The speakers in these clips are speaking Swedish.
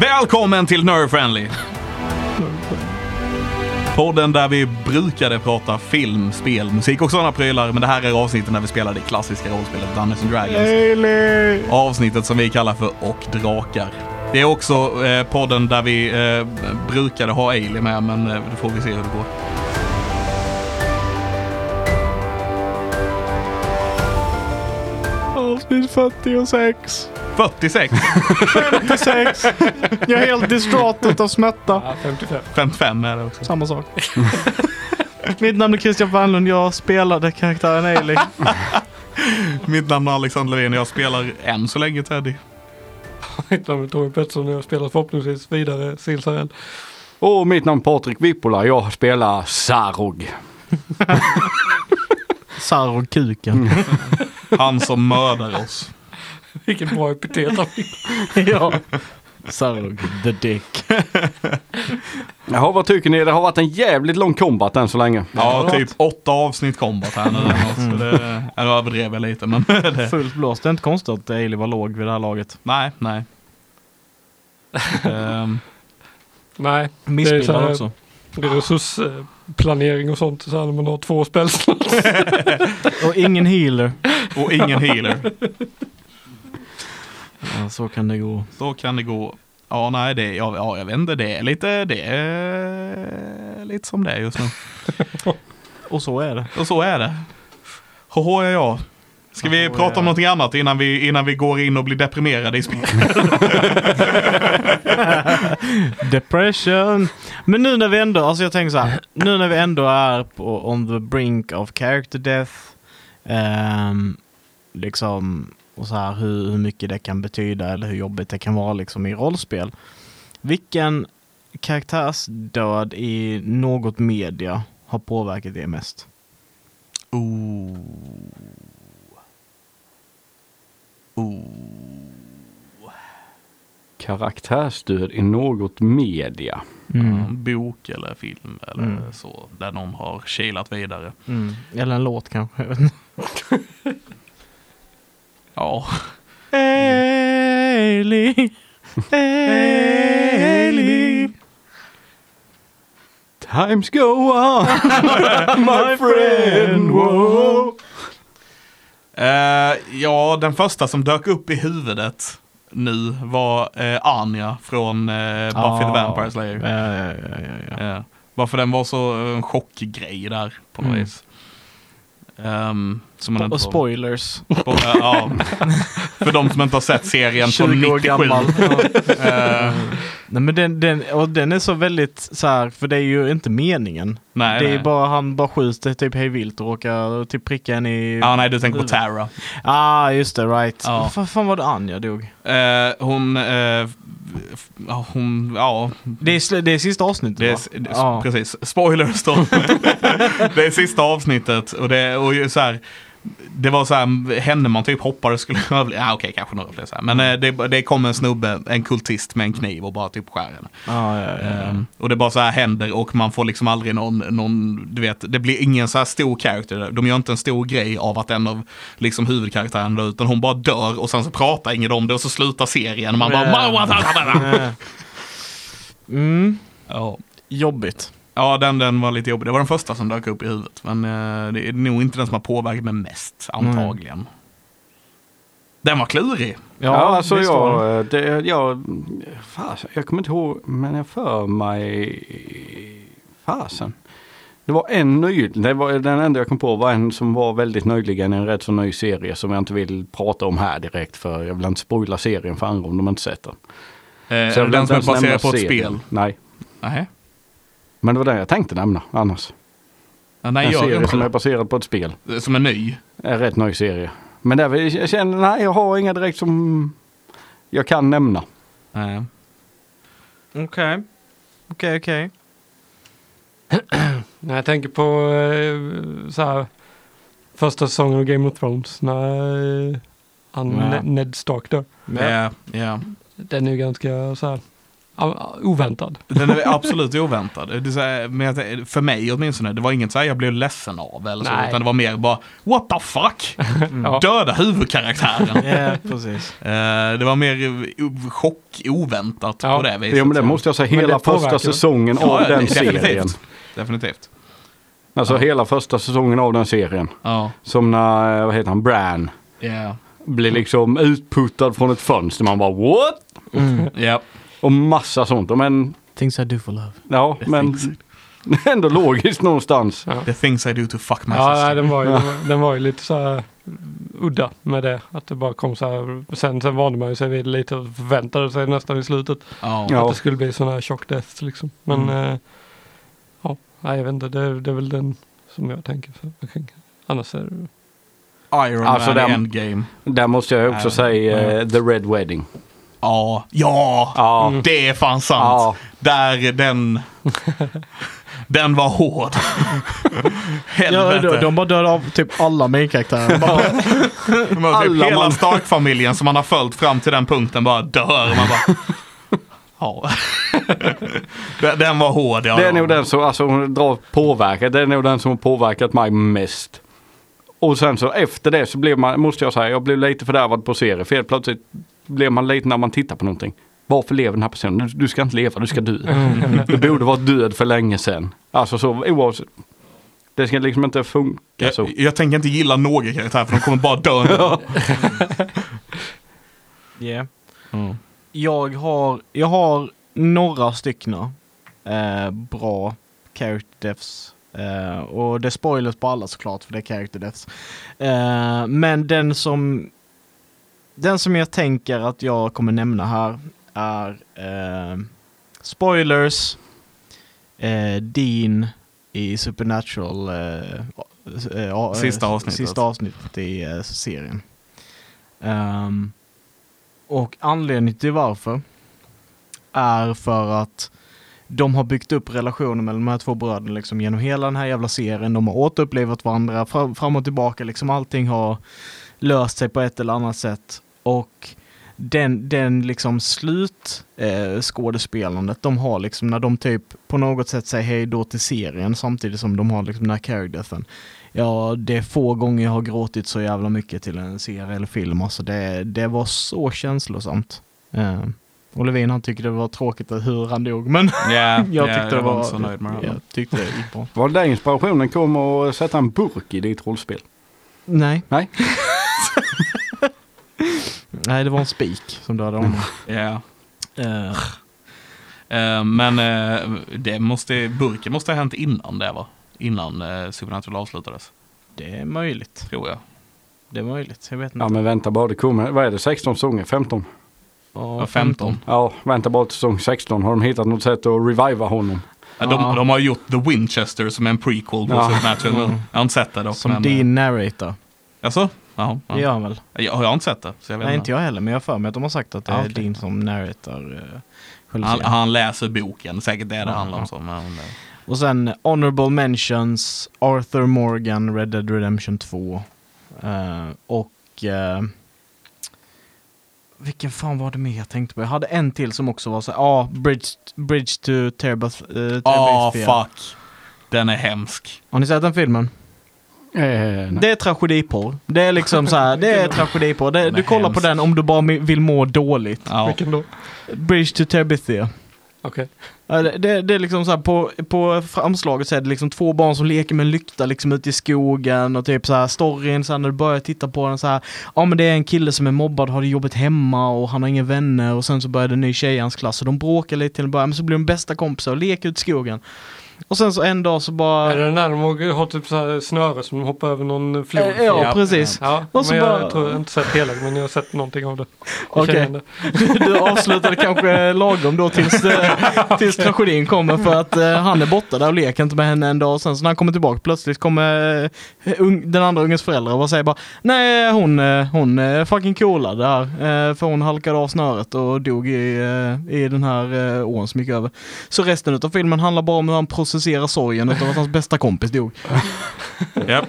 Välkommen till Nerve Friendly! Podden där vi brukade prata film, spel, musik och sådana prylar. Men det här är avsnittet när vi spelar det klassiska rollspelet Dungeons and Dragons. Hailey! Avsnittet som vi kallar för Och Drakar. Det är också eh, podden där vi eh, brukade ha Ailey med, men eh, då får vi se hur det går. Avsnitt 46. 46, 56. Jag är helt distrat utav smärta. Ja, 55. 55 är det också. Samma sak. Mitt namn är Christian Wernlund. Jag spelade karaktären Ailey. Mitt namn är Alexander Levin och jag spelar än så länge Teddy. Mitt namn är Tommy Pettersson och jag spelar förhoppningsvis vidare Silsarell. Och mitt namn är Patrik Vippola. Jag spelar Sarog. Sarr och kuken. Han som mördar oss. Vilket bra epitet han fick. ja. Sarr och the dick. Jaha, vad tycker ni? Det har varit en jävligt lång combat än så länge. Ja, typ åtta avsnitt combat här nu. eller något, Så det, jag överdrev jag lite, men det, Fullt blåst. Det är inte konstigt att Ailey var låg vid det här laget. nej, nej. Ehm, Nej, det är så Missbildad här- också. det är resursplanering och sånt så här när man har två spel. Och ingen healer. och ingen healer. Ja, så kan det gå. Så kan det gå. Ja, nej, det, ja, ja, jag vet inte. Det är lite, det är lite som det är just nu. Och så är det. Och så är det. Hoho, ja, ja. Ska vi Hoho, prata ja. Mm. om någonting annat innan vi, innan vi går in och blir deprimerade i spelet? Depression. Men nu när vi ändå, alltså jag tänker så här. Nu när vi ändå är på on the brink of character death. ehm, liksom, och så här hur, hur mycket det kan betyda eller hur jobbigt det kan vara liksom i rollspel. Vilken karaktärsdöd i något media har påverkat er mest? Oh. Oh. Karaktärsstöd i något media. En bok eller film eller Mm. så, där någon har kilat vidare. Mm. Eller en låt kanske. jag vet inte. Ja, Ailey. Ailey. Times go on, my friend. Wow. Eh, ja den första som dök upp i huvudet nu var eh, Anja från eh, Buffy the Vampire Slayer. Ja, ja, ja, ja, Ah. ja. Eh, varför den var så eh, en chockgrej där på något Mm. vis. Ehm, som man Och inte- spoilers. Spo- eh, ja. För de som inte har sett serien från 20 år 97. gammal. Mm. Eh, Nej men den, den, och den är så väldigt så här, för det är ju inte meningen. nej, det är nej. bara han bara skjuter typ hej vilt och råkar typ pricka en i... Ja, nej, du tänker på Tara. Ah just det, right. Ja. Vad fan var det Anja dog? Eh, hon, eh, f- ja, hon, ja, Det är, sl- det är sista avsnittet det är, va? s- det- s- ja. precis, spoilers då. det är sista avsnittet och det, och ju så här, det var så här, henne man typ hoppades skulle överleva, ja okej kanske några fler så här. Men eh, det, det kom en snubbe, en kultist med en kniv och bara typ skär henne. Ja, ja, ja, ja. Eh, och det bara så här händer och man får liksom aldrig någon, någon, du vet, det blir ingen så här stor karaktär. De gör inte en stor grej av att en av liksom huvudkaraktärerna dör, utan hon bara dör och sen så pratar ingen om det och så slutar serien. Man bara... Eh. Mm. Ja. Jobbigt. Ja, den, den var lite jobbig. Det var den första som dök upp i huvudet. Men eh, det är nog inte den som har påverkat mig mest, antagligen. Den var klurig. Ja, alltså visst var det. jag, eh, det, jag, fasen, jag kommer inte ihåg, men jag för mig, fasen. Det var en ny, det var, den enda jag kom på var en som var väldigt nyligen, en rätt så ny serie som jag inte vill prata om här direkt för jag vill inte spoila serien för andra om de inte sett den. Eh, Så jag den vill som inte är ens baserad nämna på ett serien. spel. Nej, Nej, men det var den jag tänkte nämna annars. ja, nej en jag serie som är som, baserad på ett spel. är... som är ny. En rätt ny serie. Men där vill jag känner, nej jag har inga direkt som jag kan nämna. Eh. Okej. Okej, okej. När jag tänker på eh, så här första säsongen av Game of Thrones när eh, han Ja. Ne- Ned Stark dör. eh, Ja, ja. Den är ju ganska så här ah, oväntad. Den är absolut oväntad. Det är så här, men jag tänker, för mig åtminstone, det var inget så här jag blev ledsen av eller så, Nej. utan det var mer bara what the fuck? Ja. Döda huvudkaraktären. Ja, precis. Eh, det var mer eh, chock oväntat Ja. på det viset. Ja men det måste jag säga, Men hela det påverkar första ju. säsongen av Ja, den definitivt. serien. Definitivt. Alltså hela första säsongen av den serien. Ja. Som när, eh, vad heter han, Bran Ja. blir Mm. liksom utputtad från ett fönster. Man bara what? Ja. Och massa sånt. Men, Things I do for love. ja men ändå logiskt någonstans. Ja, The things I do to fuck my ja nej, sister. den, var ju, den var- den var ju lite så här udda med det. Att det bara kom så här. Sen, sen vande man ju sig vid det lite och förväntade sig nästan i slutet. Ja. Ja. Ja. Att det skulle bli sådana här chock deaths liksom. Men Mm. eh, ja, nej, jag vet inte. Det, det är väl den som jag tänker för. Jag tänker. Annars är det... Iron Alltså, Man den- i Endgame. Där måste jag också Ja. säga eh, The Red Wedding. Ja. Ja! Ja. Det är fan sant. Ja. Där den... den var hård. Ja, Helvete. de, de bara dödade av typ alla main karaktärer. Men typ Alla hela man- Stark-familjen som man har följt fram till den punkten bara dör. Man bara... ja. Den- den var hård. Ja, Det ja. är nog den som, alltså hon drar påverkat, det är nog den som har påverkat mig mest. Och sen så efter det så blev man, måste jag säga, jag blev lite fördärvad på serien. För helt plötsligt blev man lite när man tittar på någonting. Varför lever den här personen? Du, du ska inte leva, du ska dö. Du borde vara död för länge sedan. Alltså så oavsett. Det ska liksom inte funka så. jag, jag tänker inte gilla några karaktärer för de kommer bara dö. ändå. Yeah. Mm. Jag har, jag har några stycken eh, bra character deaths. Eh, och det är spoilers på alla såklart, för det är character deaths. Eh, men den som, den som jag tänker att jag kommer nämna här är eh, spoilers, eh, Dean i Supernatural, eh, eh, eh, Sista avsnittet. sista avsnittet i eh, serien. Ehm, och anledningen till varför är för att de har byggt upp relationen mellan de här två bröderna liksom genom hela den här jävla serien. De har återupplivat varandra fram, fram och tillbaka. Liksom allting har löst sig på ett eller annat sätt. Och den, den liksom slut eh, skådespelandet de har liksom när de typ på något sätt säger hej då till serien samtidigt som de har liksom den här character Ja, det är få gånger jag har gråtit så jävla mycket till en serie eller film. Alltså det, det var så känslosamt. Eh, och Levin han tyckte det var tråkigt att hur han dog, men Ja, jag ja, tyckte det var var... inte så nöjd med det. jag tyckte det gick bra. Var det där inspirationen kom att sätta en burk i ditt rollspel? Nej, Nej? nej det var en spik som dödade honom. Ja. Mm. Eh, Eh, men eh, det måste, burken måste ha hänt innan det va? Innan eh, Supernatural avslutades, det är möjligt. tror jag. Det är möjligt, jag vet inte. Ja men vänta bara, det kommer, vad är det, 16 säsonger? 15? Ja, 15. Ja, vänta bara till säsong 16. Har de hittat något sätt att reviva honom? Ja. De, Ja. de har gjort The Winchester som är en prequel på Ja. Supernatural. Mm. Jag har inte sett det dock. Som men, eh, din narrator. Alltså? Ja, Det ja. gör han väl? Jag, jag har inte sett det, så jag vet Nej, inte jag heller, men jag har för mig att de har sagt att det Ja, är okej. din som narrator. eh, själva Han, serien. han läser boken, säkert det det Ja, handlar om. ja. Så, men, eh, Och sen Honorable Mentions, Arthur Morgan, Red Dead Redemption 2. eh, och... eh, vilken fan var det mer jag tänkte på? Jag hade en till som också var så ja, ah, Bridge, Bridge to Terabas... Uh, Ah, fuck. Den är hemsk. Har ni sett den filmen? Eh, Det är tragediporr. Det är liksom så här, det är tragediporr. Det, Den är du kollar på hemsk. den om du bara vill må dåligt. Ja. Vilken då? Bridge to Terabithia. Okej. Ja, det, det, det är liksom så här, på, på framslaget så är det liksom två barn som leker med en lykta liksom ute i skogen och typ så här storyn sen när du börjar titta på den så här. Ja men det är en kille som är mobbad, har det jobbigt hemma och han har inga vänner och sen så börjar det en ny tjej i hans klass och de bråkar lite till en början men så blir de bästa kompisar och leker ute i skogen. Och sen så en dag så bara... Är det den där de har- har typ så här snöre som hoppar över någon flod? Eh, ja, precis. Ja, Och så men jag bara- tror jag har inte sett hela men jag har sett någonting av det. Jag Okej. känner igen det. Du avslutade kanske lagom då tills, eh, tills tragedin kommer för att eh, han är borta där och leker inte med henne en dag och sen så när han kommer tillbaka plötsligt kommer eh, ung, den andra ungens föräldrar och säger bara Nej hon, eh, hon eh, fucking coolade det här eh, för hon halkade av snöret och dog i, eh, i den här eh, ån som gick över. Så resten av filmen handlar bara om hur han processerar sorgen utav att hans bästa kompis dog. Japp.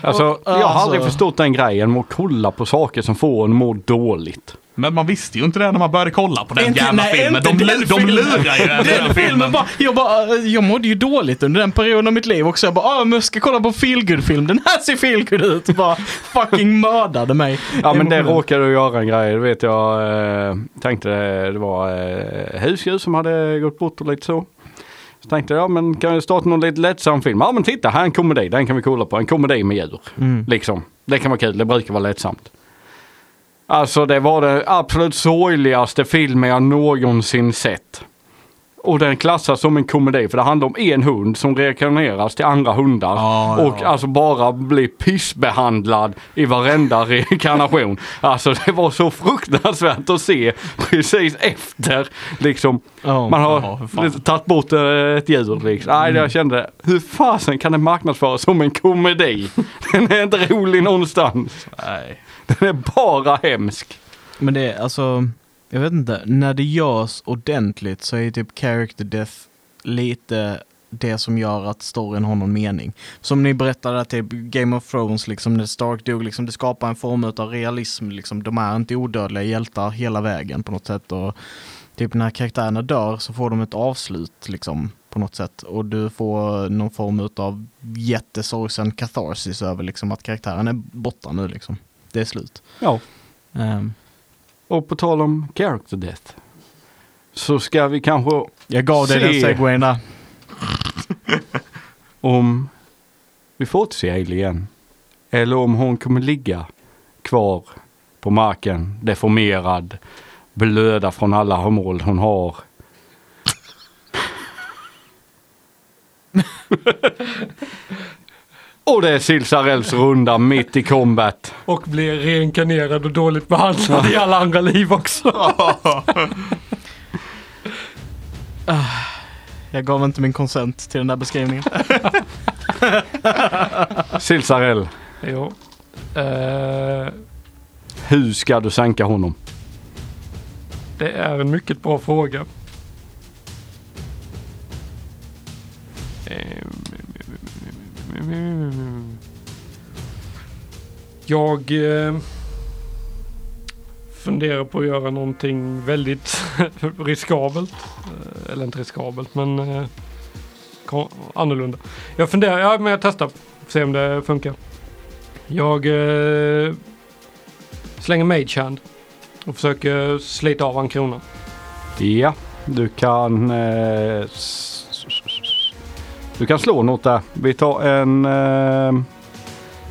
Alltså, jag har aldrig alltså. förstått den grejen med att kolla på saker som får en att må dåligt. Men man visste ju inte det när man började kolla på den Inte- jävla nej, filmen. inte De, den lu- de filmen. lurar ju en i den filmen. Bara, jag, bara, eh, jag mådde ju dåligt under den perioden av mitt liv också. Jag bara, "Ah, men jag ska kolla på feelgood-film. Den här ser feelgood ut. Bara fucking mördade mig. Ja men det Emotionellt. råkade du göra en grej, det vet jag. Eh, tänkte det, det var eh, husdjur som hade gått bort och lite så. Så tänkte jag, ja men kan jag starta någon lite lättsam film? Ja men titta, här är en komedi, den kan vi kolla på. En komedi med djur. Liksom. Det kan vara kul, det brukar vara lättsamt. Alltså det var den absolut sorgligaste filmen jag någonsin sett. Och den klassas som en komedi för det handlar om en hund som rekarneras till andra hundar. Ja, ja. Och alltså bara blir pissbehandlad i varenda rekarnation. Alltså det var så fruktansvärt att se precis efter. Liksom, Ja. man har ja, för fan. Mm. tagit bort eh, ett djur liksom. Nej, jag kände, hur fasen kan den marknadsföras som en komedi? Den är inte rolig någonstans. Nej. Den är bara hemsk. Men det är alltså, jag vet inte, när det görs ordentligt så är ju typ character death lite det som gör att storyn har någon mening. Som ni berättade att det är Game of Thrones, liksom, när Stark dog, liksom, det skapar en form av realism. Liksom, de är inte odödliga hjältar hela vägen på något sätt. Och, typ när karaktärerna dör så får de ett avslut liksom, på något sätt. Och du får någon form av jättesorgsen katharsis över liksom, att karaktären är borta nu. Liksom. Det är slut. Ja. Ehm. Och på tal om character death. Så ska vi kanske Jag gav dig Se. den segwayn där. om vi får se Hailey igen. Eller om hon kommer ligga kvar på marken, deformerad, blöda från alla hål hon har. och det är Silsarells runda mitt i combat. Och blir reinkarnerad och dåligt behandlad i alla andra liv också. Jag gav inte min konsent till den där beskrivningen. Silsarell, Jo. Eh, hur ska du sänka honom? det är en mycket bra fråga. Jag eh, funderar på att göra någonting väldigt riskabelt. Eh, Eller inte riskabelt, men eh, kon- annorlunda. Jag funderar, ja men jag testar. Se om det funkar. Jag eh, slänger Mage Hand och försöker slita av han kronan. Ja, du kan... Eh, s- s- s- du kan slå något där. Vi tar en... Eh,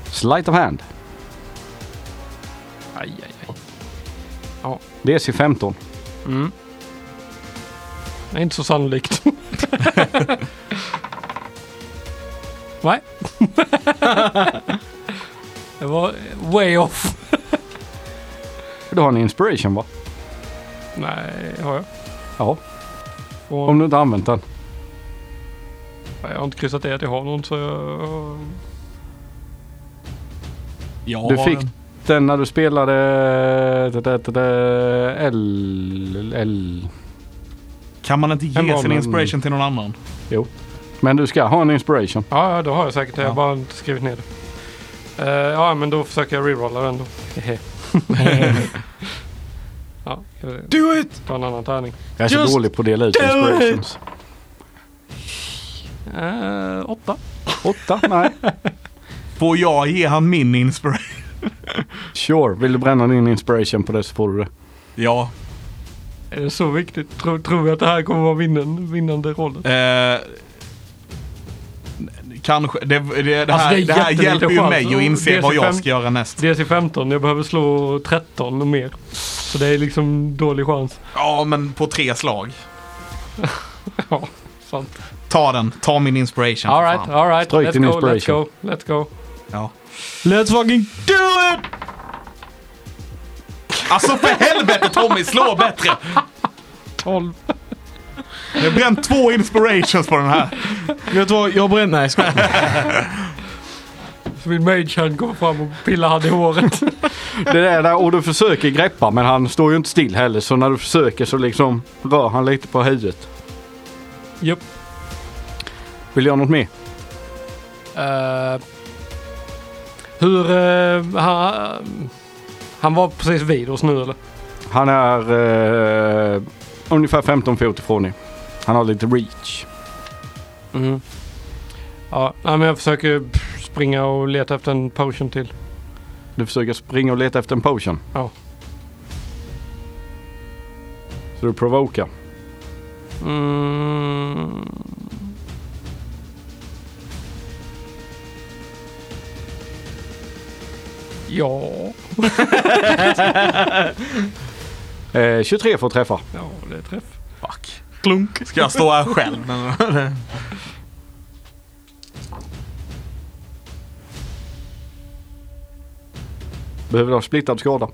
sleight of hand. Aj, aj, aj. DC 15. Mm. Det är inte så sannolikt. Nej. det var way off. Du har en inspiration va? Nej, har jag? Ja, Och, om du inte har använt den. Jag har inte kryssat i att jag har någon så jag... Ja, Du fick den när du spelade... da, da, da, da, L... L... Kan man inte En ge sin vanlig- inspiration till någon annan? Jo. Men du ska ha en inspiration. Ja, ja, då har jag säkert det. Jag Ja. har bara inte skrivit ner det. Eh, ja, men då försöker jag rerolla den då. ja, jag Do it! tar en annan tärning. Jag är så Just dålig på att dela ut do it! inspirations. Eh, åtta. Åtta? Nej. Får jag ge han min inspiration? Sure. Vill du bränna din inspiration på det så får du det. Ja. Är det Eh, så viktigt? Tror, tror vi att det här kommer vara vinnan, vinnande rollen? Eh, kanske. Det, det, det här, Alltså, det det är här jättelite hjälper ju chans. mig Och att inse vad jag DC5. ska göra näst. DC 15, jag behöver slå 13 och mer. Så det är liksom dålig chans. Ja, men på tre slag. Ja, sant. Ta den. Ta min inspiration. för Alright, fan. alright. Stryk din Let's go, let's inspiration. go, let's go. Ja. Let's fucking do it! Alltså för helvete Tommy, slå bättre! 12. Jag har bränt två inspirations på den här. Vet du vad, jag bränner... Nej, jag skojar. Så min mage hand går fram och pillar han i håret. Det där, där och du försöker greppa men han står ju inte still heller så när du försöker så liksom rör han lite på huvudet. Japp. Vill du göra något mer? Eh, Hur... Eh, han, han var precis vid oss nu eller? Han är eh, ungefär 15 fot ifrån er. Han har lite reach. Mm. Ja, nej, men jag försöker springa och leta efter en potion till. Du försöker springa och leta efter en potion. Ja. Så du provokar. Mm. Ja. Eh, 23 får träffa. ja, det är träff. Fuck. Klunk. Ska jag stå här själv? Men- Behöver du ha splittad skada?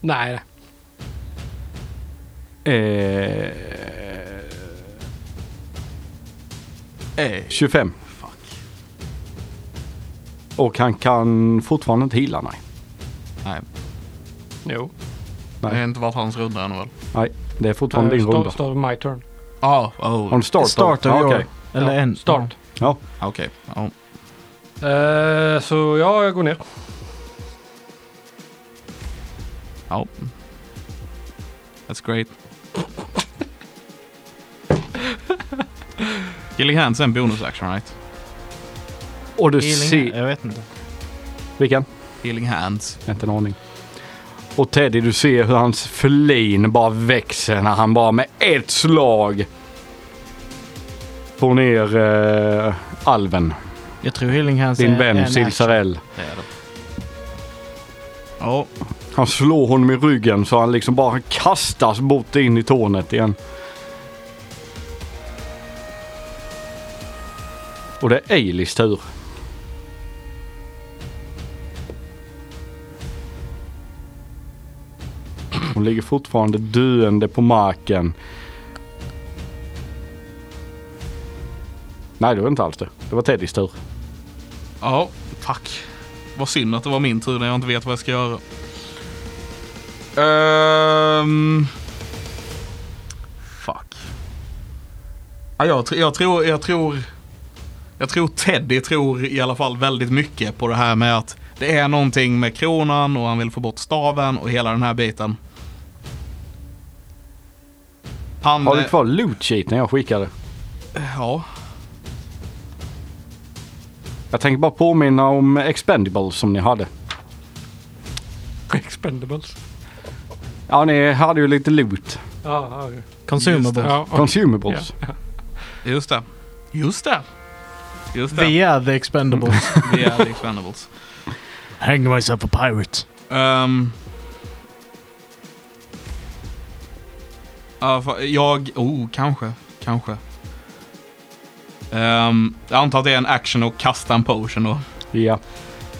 Nej, nej. Eh, Eh, 25. Och han kan fortfarande inte heala, nej. Nej, jo. det är inte vart hans runda ännu väl? Nej, det är fortfarande din runda. Start my turn. Ja, oh, Har du start? Start Ja, of your... okej. Eller ja, en... Start. Ja, okej. Ja. Eh, så ja, jag går ner. Ja. That's great. Gilling hands är en bonus action right? och du Healing? ser... Jag vet inte. Vilken? Healing hands. Inte en aning. Och Teddy, du ser hur hans flin bara växer när han bara med ett slag får ner eh, alven. Jag tror healing hands Din är en vän action. Silsarell. Det är det. Ja, Han slår honom i ryggen så han liksom bara kastas bort in i tornet igen. Och det är Eilis tur. Hon ligger fortfarande döende på marken. Nej, det var inte alls det. Det var Teddys tur. ja, fuck. Vad synd att det var min tur när jag inte vet vad jag ska göra. Ehm... fuck. Ja, jag, tr- jag tror, jag tror, jag tror Teddy tror i alla fall väldigt mycket på det här med att det är någonting med kronan och han vill få bort staven och hela den här biten. Han, Har du eh, kvar loot sheet när jag skickade? Ja, Jag tänker bara påminna om expendables som ni hade. Expendables. Ja, ni hade ju lite loot. Ja, ja, Consumable. ja. ja. Consumables. just det. Just det. Just det. Vi är the expendables. Vi är the expendables. Hang myself a pirate. Ehm. Ja, fa- jag... Oh, kanske. Kanske. Ehm, jag antar att det är en action att kasta en potion då. Ja.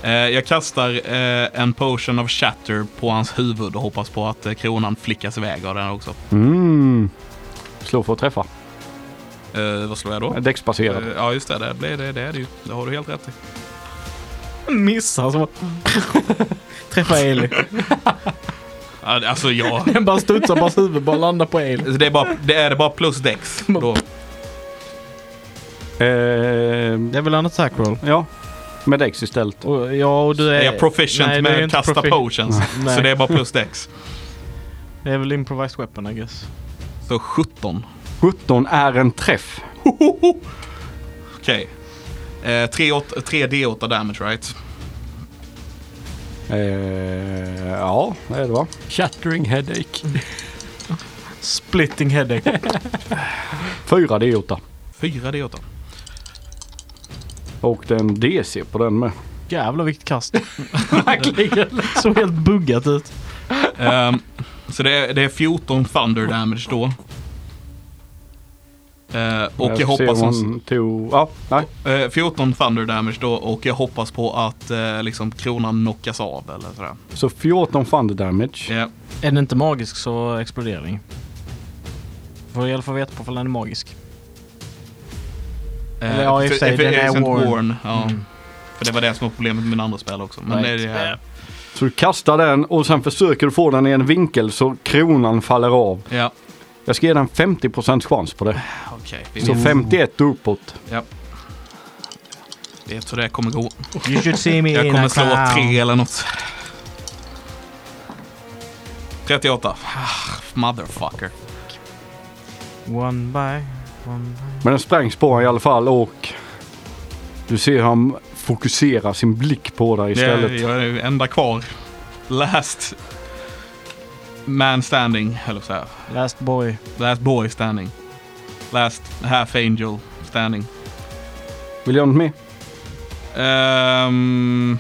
Eh, jag kastar eh, en potion of shatter på hans huvud och hoppas på att eh, kronan flickas iväg av den också. Mm. Slå för att träffa. Eh, vad slår jag då? Däcksbaserad. Eh, ja, just det. Det, blir det, det är det ju. Det har du helt rätt i. Missar så Träffar Eli. Ja, Alltså, jag... Den bara studsar på hans huvud, bara landar på Eli. Det är bara, det är bara plus dex då. Eh, Det är väl en attack roll? ja. Med däcks istället. Och, ja, och du är... Är jag proficient Nej, du är med att inte kasta profi- potions? Nej. Så det är bara plus dex. Det är väl improvised weapon, I guess. Så 17. 17 är en träff. Okej. Eh, 3 D8 damage right? Eh, ja, det är det va? Shattering headache. Splitting headache. 4 D8. 4 D8. Och det är en DC på den med. Jävlar vilket kast. Verkligen. Såg helt buggat ut. Ehm, så det är, det är 14 thunder damage då. Eh, och jag får se hoppas... om Hon... hon tog... Ja, nej. Eh, 14 thunder damage då och jag hoppas på att eh, liksom kronan knockas av eller sådär. Eh, Så 14 thunder damage. Ja. Är den inte magisk så exploderar den. Får i alla fall veta på ifall den är magisk. Eh, Eller ja, i och för sig, den är efficient worn. Mm. Ja. För det var det som var problemet med min andra spel också. Men Right. det är det här. Så du kastar den och sen försöker du få den i en vinkel så kronan faller av. Ja, Jag ska ge den 50 chans på det. Mm. okej. Så Vi- 51 uppåt. Ja. vet hur det kommer gå. You should see me Jag in kommer a slå clown. tre eller något. 38. Ah, motherfucker. One by one by. Men den sprängs på honom i alla fall och du ser hur han fokuserar sin blick på dig istället. Jag, jag är ju enda kvar. Last man standing, eller så här. Last boy. Last boy standing. Last half angel standing. Vill jag något mer? Ehm,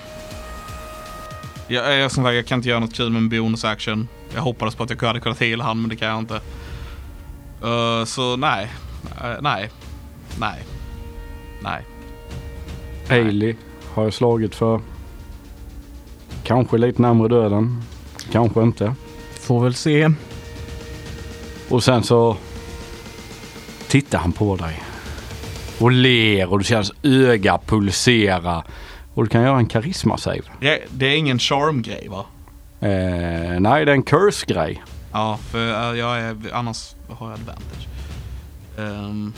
jag, jag, som sagt, jag kan inte göra något kul med en bonus action. Jag hoppades på att jag hade kunnat hela han, men det kan jag inte. Eh, så nej. Eh, nej. Nej. Nej. Hailey har jag slagit för. Kanske lite närmare döden. Kanske inte. Får väl se. Och sen så tittar han på dig. Och ler och du ser hans öga pulsera. Och du kan göra en karisma-save. Det, det är ingen charm-grej va? Eh, nej, det är en curse-grej. Ja, för eh, jag är, annars har jag advantage. Ehm,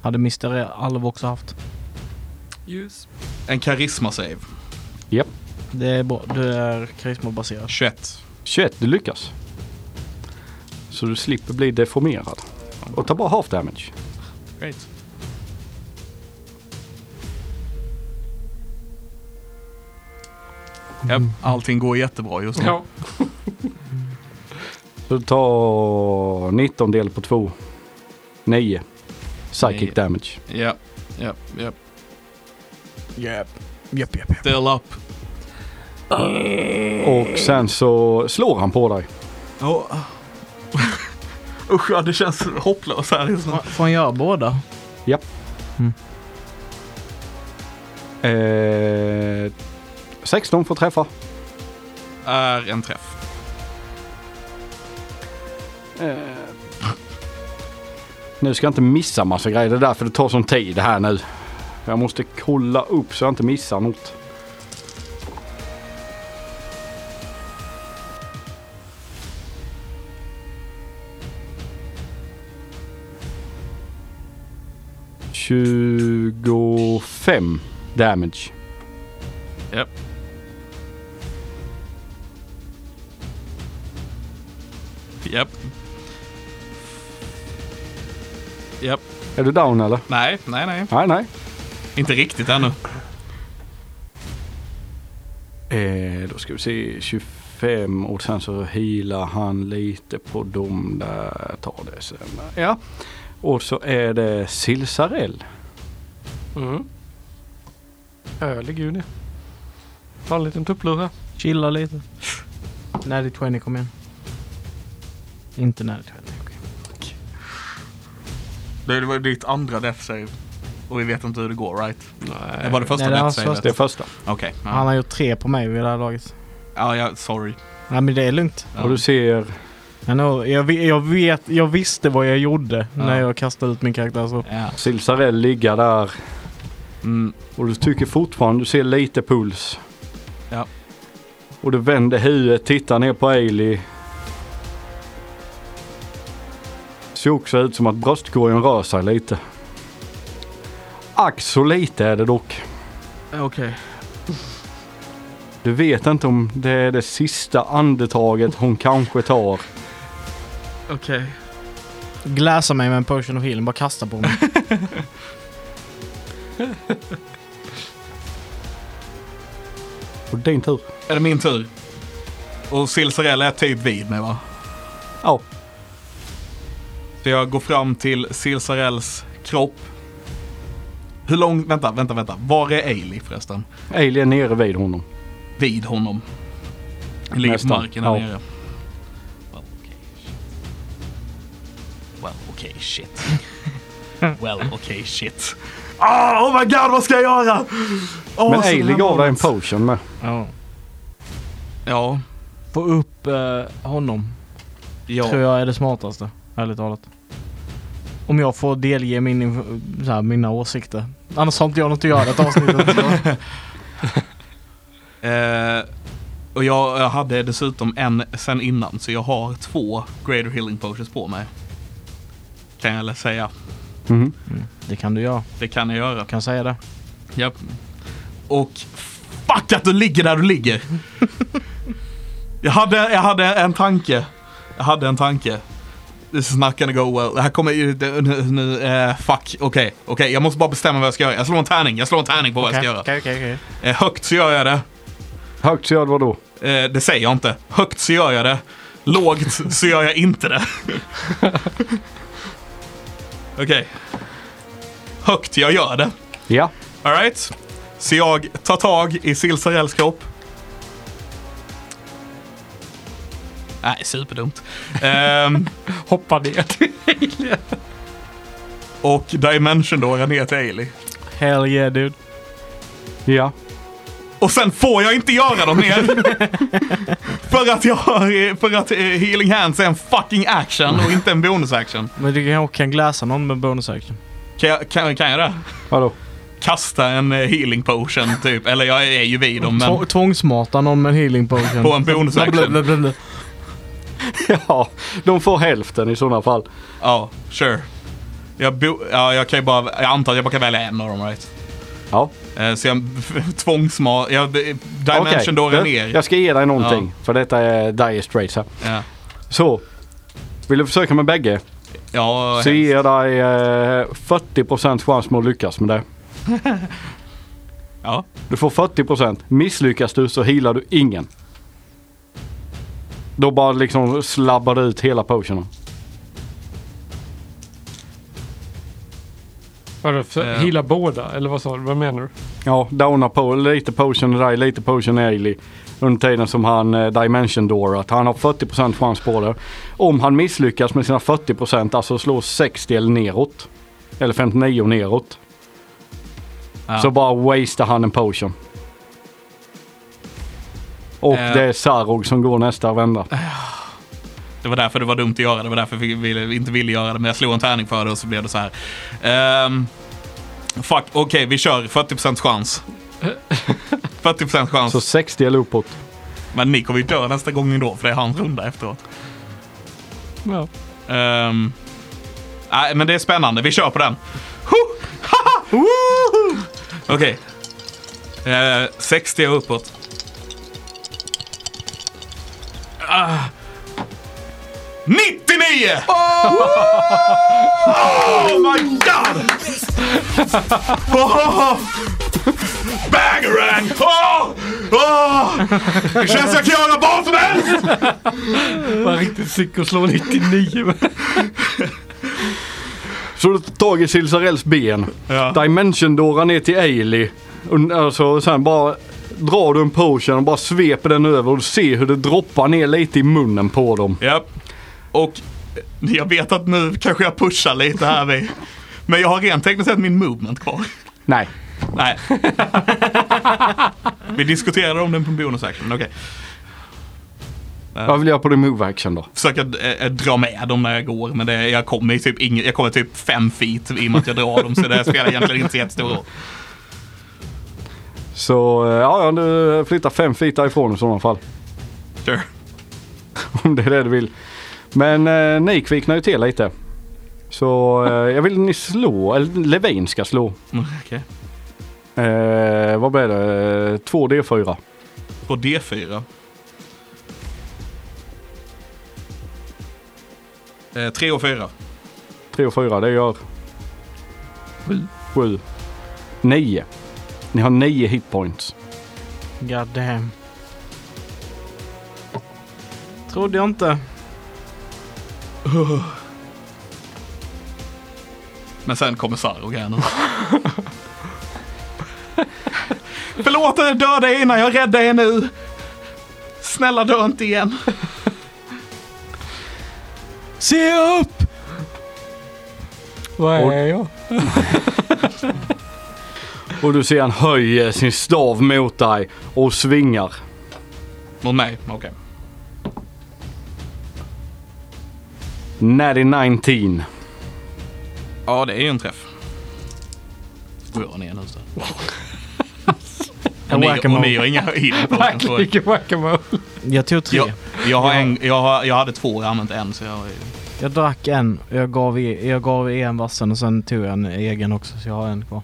Hade Mr. Alv också haft. Ljus. en karisma-save. Det är bra. Du är karismabaserad. 21. 21, du lyckas. Så du slipper bli deformerad. Och ta bara half damage. Great. Japp, Mm. allting går jättebra just nu. Ja. Så ta 19 del på 2. 9. Psychic Nio. damage. Japp, japp, japp. Japp. Japp, japp, japp. Still up. Och sen så slår han på dig. Oh. Usch, ja, det känns hopplöst här just nu. Får- Får han göra båda? Japp. Mm. Eh, 16 får träffa. Är en träff. Nu ska jag inte missa massa grejer. Det är därför det tar sån tid här nu. Jag måste kolla upp så jag inte missar något. Tjugofem damage. Japp. Japp. Japp. Är du down eller? Nej, nej, nej. Nej, nej. Inte riktigt ännu. Eh, då ska vi se 25 och sen så healar han lite på dem där. Ta det sen. Ja. Och så är det Silsarell. Mm. Ölig juni. Ta en liten tupplura. Chilla lite. Natty 20, kom igen. Inte Natty 20. okej. Det var ditt andra death save. Och vi vet inte hur det går, right? Nej. Det var det första Nej, det var death savet? Det är första. Okej. Han Ja, har gjort tre på mig vid det här laget. ja, ja sorry. Nej men det är lugnt. Ja. Och du ser Jag, know, jag, vi- jag, vet, jag visste vad jag gjorde Ja. när jag kastade ut min karaktär så. Ja. Silsarell ligga där Mm. och du tycker fortfarande du ser lite puls. Ja. Och du vänder huvudet, tittar ner på Ailey. Ser också ut som att bröstkorgen rör sig lite. Ack så lite är det dock. Okej. Du vet inte om det är det sista andetaget hon kanske tar. Okej. Gläsa mig med en potion of healing, bara kasta på mig. Och din tur. Är det min tur? Och Silsarell är typ vid mig va? Ja. Så jag går fram till Silsarells kropp. Hur lång... Vänta, vänta, vänta. Var är Ailey förresten? Ailey är nere vid honom. Vid honom. Han ligger på Nästan. marken här Ja. nere. Well, okay. Well, okay, shit. Well, okay, shit. Ah, oh my god, vad ska jag göra? Åh, Men så Ailey här gav dig en målet. potion med. Ja. Ja, Få upp eh, honom ja. tror jag är det smartaste, ärligt talat. Om jag får delge min, inf- så här, mina åsikter. Annars har inte jag något att göra i detta avsnittet. Eh, och jag, jag hade dessutom en sen innan, så jag har två greater healing potions på mig. Kan jag väl säga. Mhm. Det kan du göra. Det kan jag göra. Jag kan säga det. Japp. Och fuck att du ligger där du ligger. jag, hade, jag hade en tanke. Jag hade en tanke. This is not gonna go well. Det här kommer ju... det- Nu, nu, eh, fuck, okej. Okej, jag måste bara bestämma vad jag ska göra. Jag slår en tärning. Jag slår en tärning på vad jag ska göra. Okej, okej, okej. Eh, högt så gör jag det. Högt så gör vad då? Eh, det säger jag inte. Högt så gör jag det. Lågt så gör jag inte det. Okej. Högt, jag gör det. Ja. Alright. Så jag tar tag i Silsarells kropp. Nej, superdumt. Ehm, Hoppa ner till och Dimension då jag ner till Ailey. Hell yeah dude. Ja. Och sen får jag inte göra dem mer! för att jag har, för att eh, healing hands är en fucking action och inte en bonusaction. Men du kanske kan gläsa någon med bonusaction. Kan jag, kan, kan jag det? Vadå? Kasta en eh, healing potion typ, eller jag är ju vid dem men Två- Tvångsmata någon med en healing potion. på en bonusaction. Blablabla. Ja, de får hälften i sådana fall. Ja, sure. Jag, bo- ja, jag kan ju bara, jag antar att jag bara kan välja en av dem right? Ja. Eh, Så jag tvångsma... Jag, dimension Okej, dårar du, ner. Jag ska ge dig någonting. För detta är Dire Straits här. Ja, Så. Vill du försöka med bägge? ja Så ger jag dig eh, 40% chans med att lyckas med det. ja. Du får 40%. Misslyckas du så healar du ingen. Då bara liksom slabbar du ut hela potionen. Vadå, för- Ja. Heala båda, eller vad sa du? Vad menar du? Ja, downa på lite potion i dig, lite potion i Ailey. Under tiden som han eh, dimension doorat. Han har 40% chans på det. Om han misslyckas med sina 40%, alltså slår 60 eller neråt. Eller 59 neråt. ja. Så bara wastear han en potion. Och Eh. det är Sarog som går nästa vända. Det var därför det var dumt att göra det. Det var därför jag ville- inte ville göra det. Men jag slog en tärning för det och så blev det så här. Ehm, fuck, okej vi kör. 40% chans. 40% chans. Så 60 eller uppåt. Men ni kommer ju dö nästa gång ändå för det är hans runda efteråt. Ja. Ehm, Nej, men det är spännande. Vi kör på den. Huh! Haha! Woho! Okej. Eh, 60 och uppåt. Ah. 99! Oh! my god! Oh! Bangarang! Oh! Oh! Det känns jag kan göra vad som helst! Var riktigt sick och slå 99. Så du tar tag i Silsarells ben. Ja. Dimension dårar ner till Ailey. Och- Alltså, sen bara drar du en potion och bara sveper den över och du ser hur det droppar ner lite i munnen på dem. Ja. Och eh, jag vet att nu kanske jag pushar lite här vid. Men jag har rent tekniskt sett min movement kvar. Nej. Nej. Vi diskuterade om den på bonusaction. Okej. Vad vill jag göra på din move action då? Försöker eh, eh, dra med dem när jag går men det, jag, kommer ju typ ing, jag kommer typ fem feet i och med att jag drar dem så det spelar egentligen inte så jättestor roll. Så eh, ja, ja, du flyttar fem feet därifrån i sådana fall. Sure. Om det är det du vill. Men eh, ni kvicknar ju till lite. Så eh, jag vill ni slå, eller Levin ska slå. Mm, Okej. Eh, vad blir det? 2D4. På D4. Eh, tre och fyra. 3 och 4, det gör... Sju. 7. 9. Ni har 9 hitpoints. God damn. Trodde jag inte. Men sen kommer Sarog här nu. Förlåt att jag dödade er innan, jag räddade er nu. Snälla dö inte igen. Se upp! Vad Och- är jag? Och du ser han höjer sin stav mot dig och svingar. Mot mig? Okej. 9019. Ja, det är ju en träff. Går jag ner nu så. Och ni, och ni har inga healing potions, tror jag. Verkligen whack-a-mole. Jag tog tre. jag, jag, har en, jag, har, jag hade två, jag har använt en så jag har ju... Jag drack en. Jag gav, e- jag gav en vassen och sen tog jag en egen också så jag har en kvar.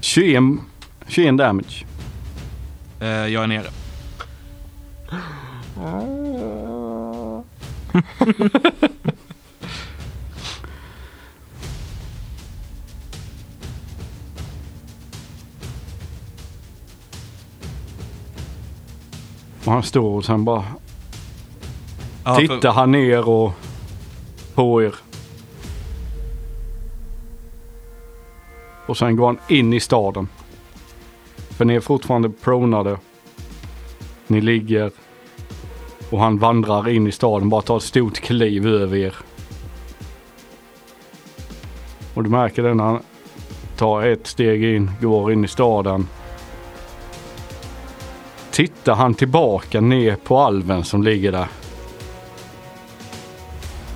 21, 21 damage. Eh, jag är nere. Och han står och sen bara Ja, för- tittar han ner och på er. Och sen går han in i staden. För ni är fortfarande pronade. Ni ligger och han vandrar in i staden, bara tar ett stort kliv över er. Och du märker det när han tar ett steg in, går in i staden. Tittar han tillbaka ner på alven som ligger där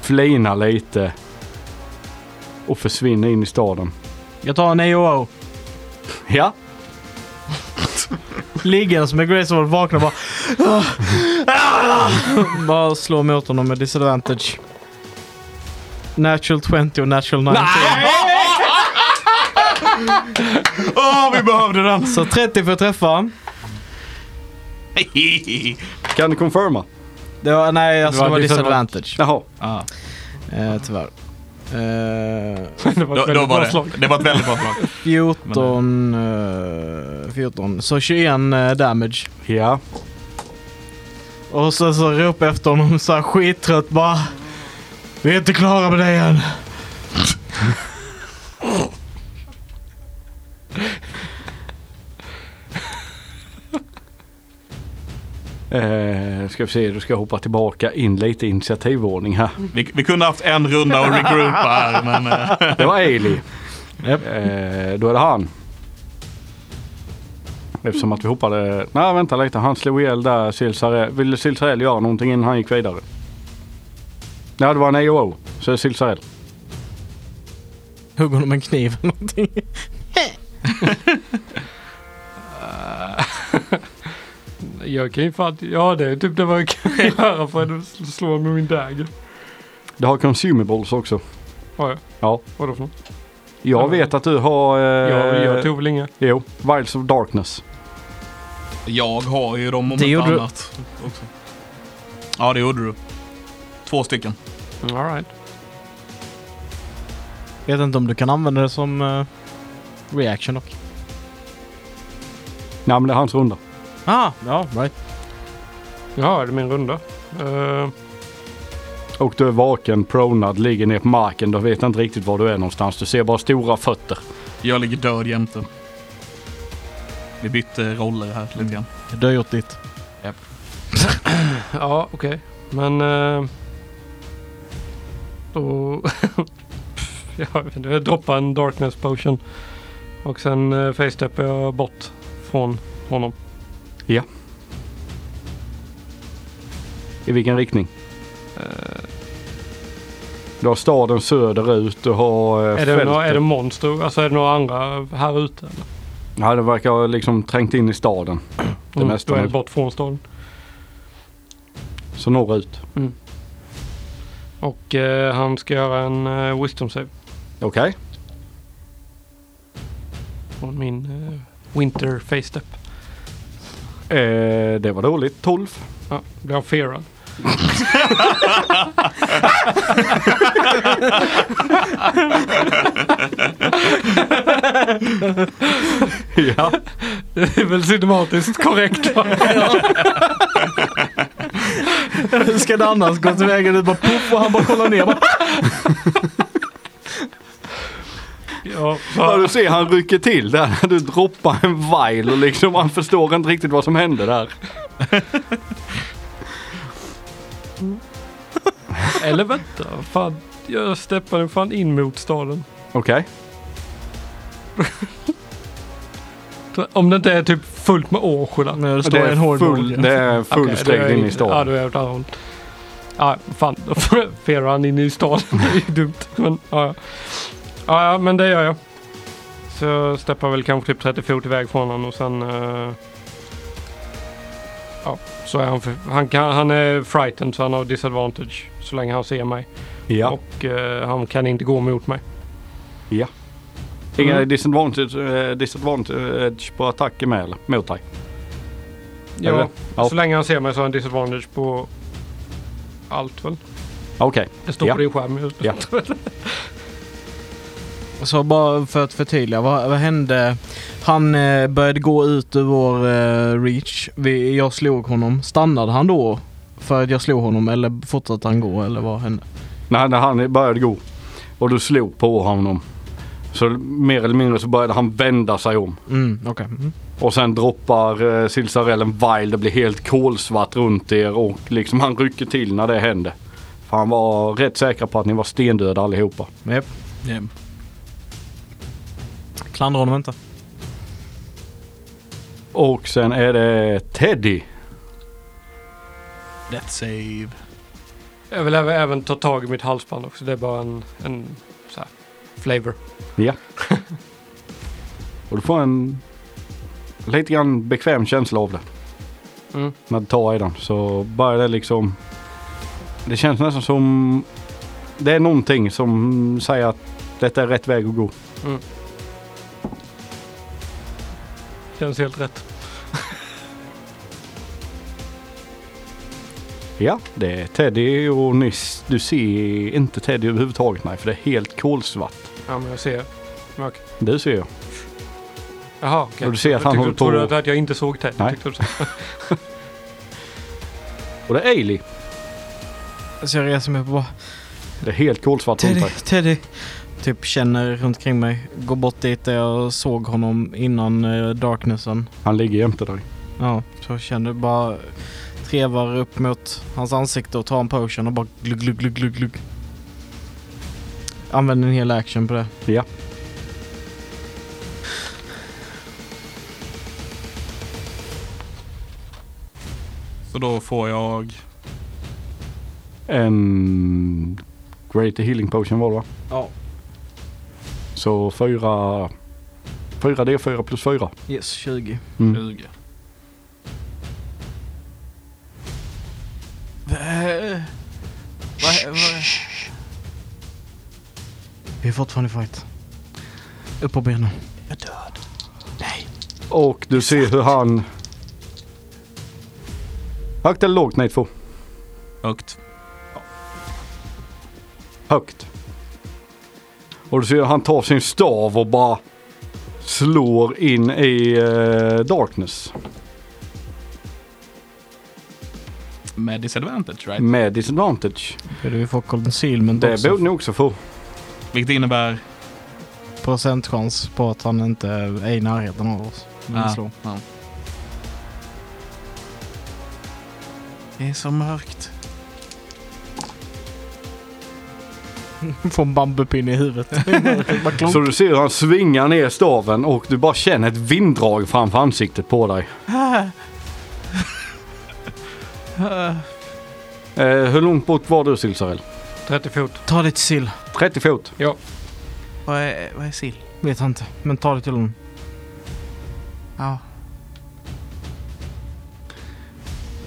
flinar lite och försvinner in i staden. Jag tar en E AOO. Ja, Liggandes med Grace och vaknar bara... bara slår mot honom med disadvantage. Natural 20 och natural 19. Åh, vi behövde den! Så 30 för att träffa. kan du confirma? Det var, nej, alltså Det det var var disadvantage. Jaha. Ja. Eh, tyvärr. Eh, Det var Då, då ett väldigt var bra det. slag. det var ett väldigt bra slag. 14... eh, 14. Så 21 eh, damage. Ja. Och sen så ropar jag efter honom så här skittrött bara. Vi är inte klara med det än. Eh, ska vi se, du ska jag hoppa tillbaka in lite i initiativordning här. Vi, vi kunde haft en runda och regroupa här, men... eh, Det var Ailey. Japp. Eh, då är det han. Eftersom att vi hoppade... Nej, vänta lite. Han slog ihjäl där Silsarell. Ville Silsarell göra någonting innan han gick vidare? Nej, det var en AOO. Så det är Silsarell. Hugger honom med en kniv eller någonting. Jag kan ju fan... Ja, det är typ det vad jag kan göra för att slå med min dagger. Det har consumables också. Har jag? Ja. Vadå för något? Jag vet att du har... Eh, Jag, jag tog väl inga. Jo, Wilds of Darkness. Jag har ju dem om Det inte gjorde du. annat. Också. Ja, det gjorde du. Två stycken. All right. Vet inte om du kan använda det som eh, reaction dock. Nej, men det är hans runda. Ah, ja, right. Jaha, är det min runda? Eh, Och du är vaken, pronad, ligger ner på marken. Du vet inte riktigt var du är någonstans. Du ser bara stora fötter. Jag ligger död jämte. Vi bytte roller här lite grann. Du har gjort ditt. ja, okej. Men... eh, då... jag vet inte, jag droppar en darkness potion. Och sen uh, facesteppar jag bort från honom. I vilken riktning? Du har staden söderut. Du har eh, Är det, fältet. några, är det monster? Alltså är det några andra här ute? Eller? Ja, det verkar ha liksom trängt in i staden. Det Mm, mesta då är det nu. bort från staden. Så norrut. Och eh, han ska göra en uh, wisdom save Okej. från min eh, winter facestep. Eh, det var dåligt. 12. Ja, blir han fearad? ja. Det är väl cinematiskt korrekt. va? Hur ska det annars gå tillväga? Du bara poff och han bara kollar ner. Bara, ja, ja, så, du ser han rycker till där. Du droppar en vial och liksom han förstår inte riktigt vad som hände där. eller vänta, fan. Jag steppade fan in mot staden. Okej. Om det inte är typ fullt med Årsjula. nu Det står en är hård full, det är full Okej, då är strid jag in i staden. Ja, då är jag åt andra hållet. Ja, fan. Då ferar han in i staden. Det är ju dumt. Men, ja, ja. ja, ja, men det gör jag. Så jag steppar väl kanske typ 30 fot iväg från honom och sen... eh, ja, så är han... För, han, kan, han är frightened så han har disadvantage så länge han ser mig. Ja. Och eh, han kan inte gå mot mig. Ja. Inga Mm. disadvantage, eh, disadvantage på attacker med eller? Mot dig? Ja, Eller? Ja. Så länge han ser mig så har han disadvantage på allt väl? Okej. Det står Ja. på din skärm just nu. Ja. Så bara för att förtydliga, vad, vad hände? Han eh, började gå ut ur vår eh, reach. Vi, jag slog honom. Stannade han då för att jag slog honom eller fortsatte han gå eller vad hände? När, när han började gå och du slog på honom. Så mer eller mindre så började han vända sig om. Mm, okej. Mm. Och sen droppar eh, silsarellen Wild. Det blir helt kolsvart runt er och liksom han rycker till när det händer. För han var rätt säker på att ni var stendöda allihopa. Japp. Mm. Klandra honom inte. Och sen är det Teddy. Death save. Jag vill även, även ta tag i mitt halsband också. Det är bara en, en så här, flavor. Ja. Och du får en lite grann bekväm känsla av det. Mm. När du tar i den så börjar det liksom. Det känns nästan som. Det är någonting som säger att detta är rätt väg att gå. Känns helt rätt. Ja, det är Teddy och Nis. Du ser inte Teddy överhuvudtaget nej, för det är helt kolsvart. Ja, men jag ser mörker. Det ser jag. Jaha, okej. Och du ser att Jag han tyckte- håller på- Trodde du att jag inte såg Ted? Nej. Tyckte du så- Och det är Ailey. Så jag reser mig upp och bara Det är helt kolsvart runt Teddy, dig. Teddy. Typ känner runt omkring mig. Går bort dit där jag såg honom innan eh, darknessen. Han ligger jämte dig. Ja, så känner bara trevar upp mot hans ansikte och tar en potion och bara glugg, glugg, glugg, glugg, glugg. Använder en hel action på det. Ja. Så då får jag... En Great Healing Potion var det va? Ja. Så fyra... Fyra D4 plus fyra. Yes, 20. Mm. 20. Vi är fortfarande i fight. Upp på benen. Och du ser hur han... Högt eller lågt Nate Fo? Högt. Högt. Och du ser hur han tar sin stav och bara slår in i eh, darkness. Med disadvantage right? Med disadvantage. Borde vi få concealment Det också? borde ni också få. Vilket innebär... Procentchans på att han inte är i närheten av oss. Men Ah, vi slår. ja. Det är så mörkt. Får en bambupinne i huvudet. Bara klonk. Så du ser hur han svingar ner staven och du bara känner ett vinddrag framför ansiktet på dig. Eh, hur långt bort var du Silsarell? 30 fot. Ta det till sill. 30 fot. Vad är, vad är sill? Vet han inte. Men ta det till honom. Ja.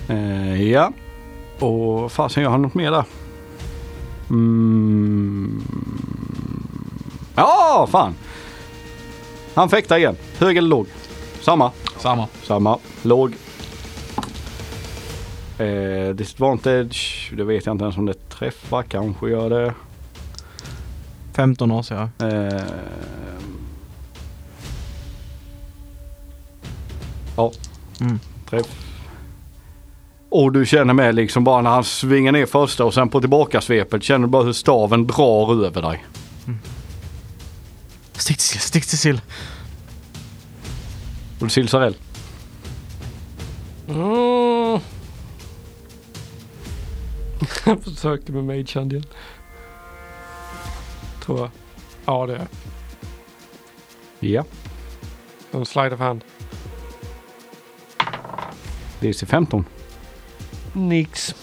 Eh, ja. Och fasen gör han något mer där? Mm. Ja, fan. Han fäktar igen. Hög eller låg? Samma. Samma. Samma. Låg. Eh, disadvantage. Det vet jag inte ens om det träffar. Kanske gör det. 15 år så jag. Eh, ja, Mm. träff. Och du känner med liksom bara när han svingar ner första och sen på tillbaka svepet känner du bara hur staven drar över dig. Stick till sill, stick till sill. Och du Silsarell, Mm. jag försöker med mage-hand igen. Tror jag. Ja, det är ja, En slide of hand. det är till 15. Nix.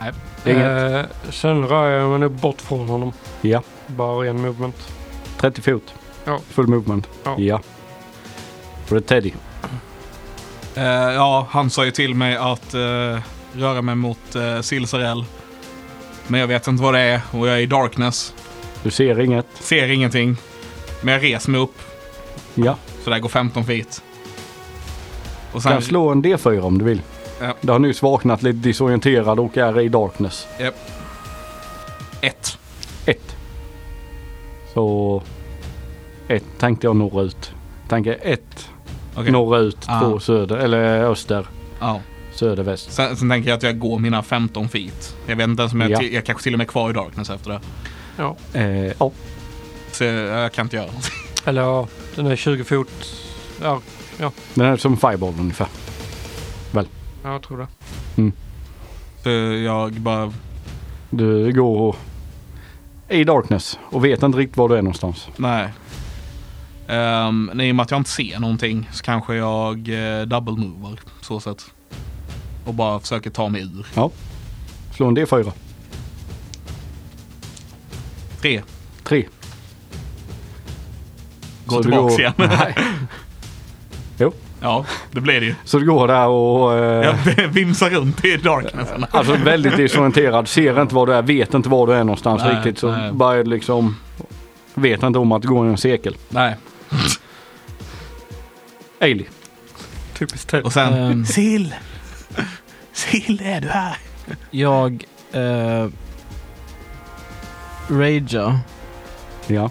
Nej. Eh, sen rör jag mig nu bort från honom. Ja, Bara ren movement. 30 fot. Ja. Full movement. Ja. Och det är Teddy. Eh, ja, han sa ju till mig att eh, röra mig mot uh, eh, Silsarell. Men jag vet inte vad det är och jag är i darkness. Du ser inget. Ser ingenting. Men jag reser mig upp. Ja. Så där går 15 feet. Och Du kan slå en D4 om du vill. Ja. Du har nyss vaknat lite disorienterad och är i darkness. Japp. Ett. Ett. Så... Ett tänkte jag norrut. Tänker ett Okej. norrut, Ah. två söder, eller öster, Ja. söder, väst. Sen, sen tänker jag att jag går mina 15 feet. Jag vet inte ens om jag, Ja. till- jag kanske till och med är kvar i darkness efter det. Ja. Eh, ja. Så jag, jag kan inte göra någonting. Eller ja, den är 20 fot. Ja, Den är som fireball ungefär. ja, jag tror det. Så jag bara, Du går i darkness och vet inte riktigt var du är någonstans. nej. Um, nej, I och med att jag inte ser någonting så kanske jag uh, double mover så sätt. Och bara försöker ta mig ur. Slå en D4. Tre. Tre. Gå Så du tillbaks går- igen. Nej. Jo. Ja, det blir det ju. Så du går där och... Eh, Jag vimsar runt i darknessen. Alltså väldigt disorienterad, ser inte var du är, vet inte var du är någonstans Nej, riktigt. Så nej. bara liksom... Vet inte om att gå i en cirkel. Nej. Ailey. Typiskt Ted. Och sen... Ehm. Sill! Sill, är du här? Jag... Eh, rager. Ja.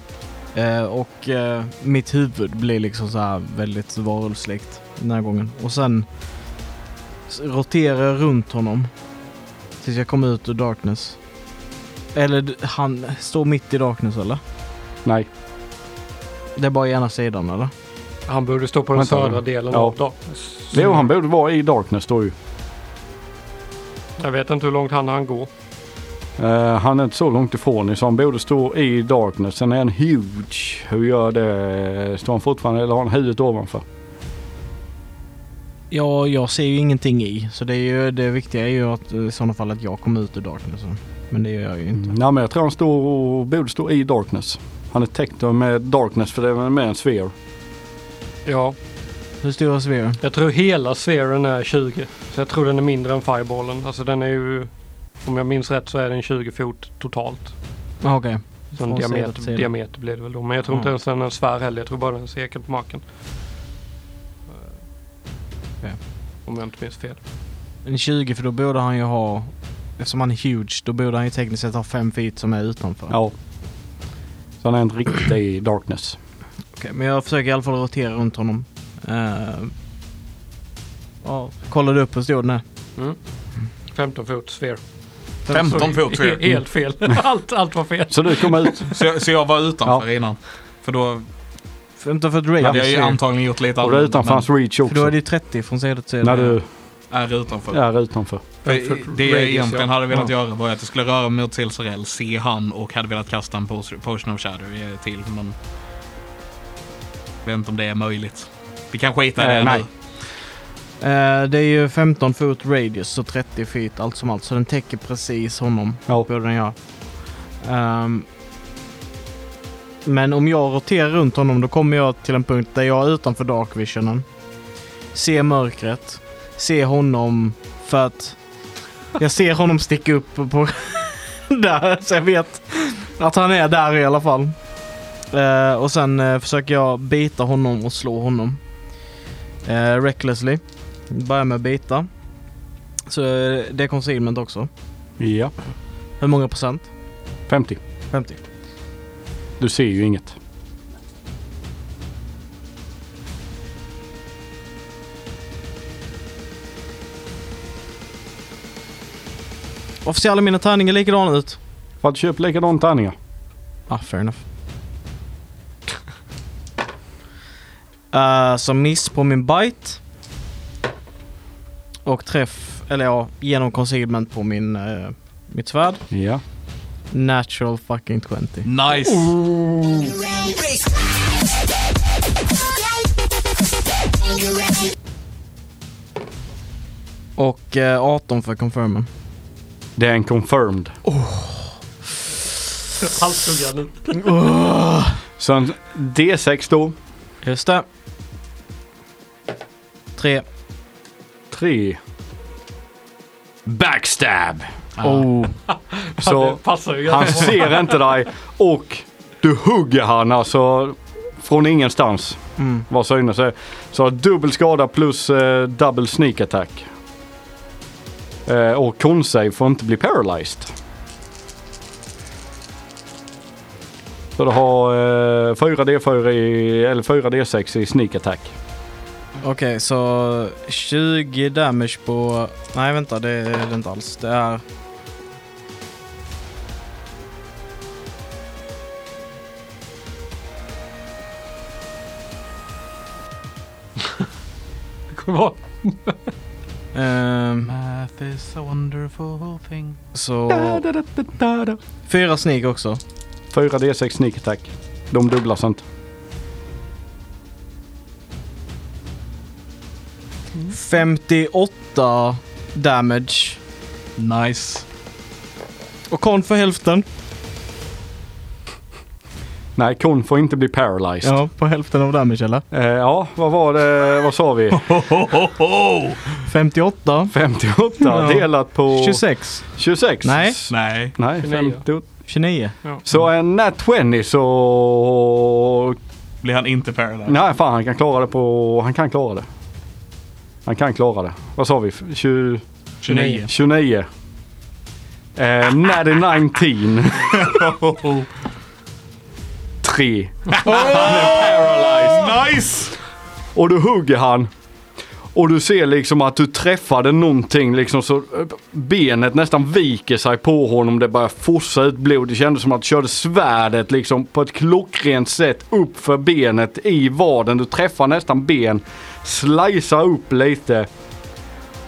Eh, och eh, mitt huvud blir liksom så här väldigt varulvslikt den här gången. Och sen s- roterar jag runt honom tills jag kommer ut ur darkness. Eller d- han står mitt i darkness eller? Nej. Det är bara ena sidan eller? Han borde stå på den Vänta, södra vänta. delen Ja. av dag. Leo han borde vara i darkness då ju. Jag vet inte hur långt han han går. Eh, han är inte så långt ifrån er så han borde stå i darkness. Sen är han huge. Hur gör det? Står han fortfarande eller har han huvudet ovanför? Ja, jag ser ju ingenting i. Så det, är ju, det viktiga är ju att, eh, i sådana fall att jag kommer ut ur darknessen. Men det gör jag ju inte. Mm. Nej men jag tror han står och borde stå i darkness. Han är täckt med darkness för det är med en sphere. Ja, Hur stor är Svea? jag tror hela sfären är 20. Så jag tror den är mindre än fireballen. Alltså den är ju, om jag minns rätt så är den 20 fot totalt. Ah, Okej. Så en Från sida till diameter, sida. diameter blir det väl då. Men jag tror inte Ja. ens den är en sfär heller. Jag tror bara den är en cirkel på marken. Okej. Om jag inte minns fel. En 20 för då borde han ju ha... Eftersom han är huge, då borde han ju tekniskt sett ha fem feet som är utanför. Ja. Så han är inte riktigt i darkness. Okej, men jag försöker i alla fall rotera runt honom. Uh, ja, kollade upp hur stor den är. 15 fot sfär. 15 fot He- fel. Helt fel. allt, allt var fel. Så du kommer ut. Så, jag- så jag var utanför innan. För då 15 foot range. hade jag ju antagligen gjort lite Och du är utanför men hans reach För då också. är det ju 30 från sida till Eh, sida. När du är utanför. är utanför. För För det jag radius, egentligen ja. hade velat göra var att jag skulle röra mig åt till Sorell, se han och hade velat kasta en pos- potion of shadow eh, till. Men jag vet inte om det är möjligt. Vi kan skita i det Eh, nej. nu. Eh, det är ju 15 foot radius, så 30 feet allt som allt. Så den täcker precis honom. Ja. Borde den göra. Ehm, men om jag roterar runt honom då kommer jag till en punkt där jag är utanför dark visionen. Ser mörkret. Ser honom för att jag ser honom sticka upp på där. Så jag vet att han är där i alla fall. Eh, och sen eh, försöker jag bita honom och slå honom. Eh, recklessly. Börjar med att bita. Så eh, det är concealment också. Ja. Hur många procent? 50. 50. Du ser ju inget. Varför ser alla mina tärningar likadana ut? För att köpa likadana tärningar. Ah, fair enough. Eh, så miss på min bite. Och träff, eller ja, genom concealment på min, eh, mitt svärd. Ja. Natural fucking 20. Nice! Oh. Och eh, 18 för confirmen. Det är en confirmed. Halshugga nu. Så en D6 då. Just det. 3. 3. Backstab. Oh. Så det passar ju han ganska bra. ser inte dig och du hugger han alltså från ingenstans. Mm. Vad synes är. Så dubbel skada plus eh, double sneak attack. Eh, och konsej får inte bli paralyzed. Så du har eh, 4D4 i, eller 4D6 i sneak attack. Okej, så 20 damage på... Nej, vänta, det är det inte alls. Det är... Det kommer vara- ehm, Math is a wonderful thing. så... Fyra sneak också. 4D6 sneak attack. De dubblas inte. 58 damage. Nice. Och kon för hälften. Nej, kon får inte bli paralyzed. Ja, på hälften av damage eller? Eh, ja, vad var det? Vad sa vi? Ho, ho, ho, ho. 58. 58 delat på 26. 26? Nej. Nej. Nej, 29. 58. 29. Så en nat 20 så... Blir han inte paralyzed? Nej fan han kan klara det på... Han kan klara det. Han kan klara det. Vad sa vi? 20... 29. 29. Eh, natty 19. Ho, ho, ho. 3. Paralyzed. Nice! Och då hugger han. Och du ser liksom att du träffade någonting liksom så benet nästan viker sig på honom. Det börjar forsa ut blod. Det kändes som att du körde svärdet liksom på ett klockrent sätt upp för benet i vaden. Du träffar nästan ben. Slicear upp lite.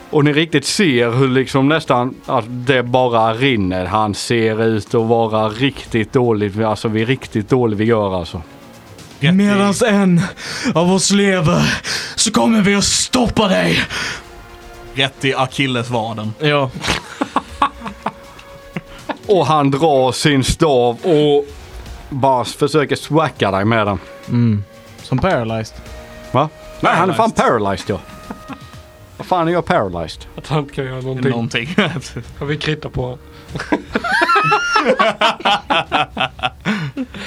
Och ni riktigt ser hur liksom nästan att det bara rinner. Han ser ut att vara riktigt dålig. Alltså vi är riktigt dålig vi gör alltså. Rätt i- Medans en av oss lever så kommer vi att stoppa dig. Rätt i akillesvaden. Ja. Och han drar sin stav och bara försöker swacka dig med den. Mm. Som paralyzed. Va? Nej, han är Paralyzed. fan paralyzed ja. Vad fan är jag paralyzed? Att han inte kan göra någonting. Någonting. Jag vill kritta på honom.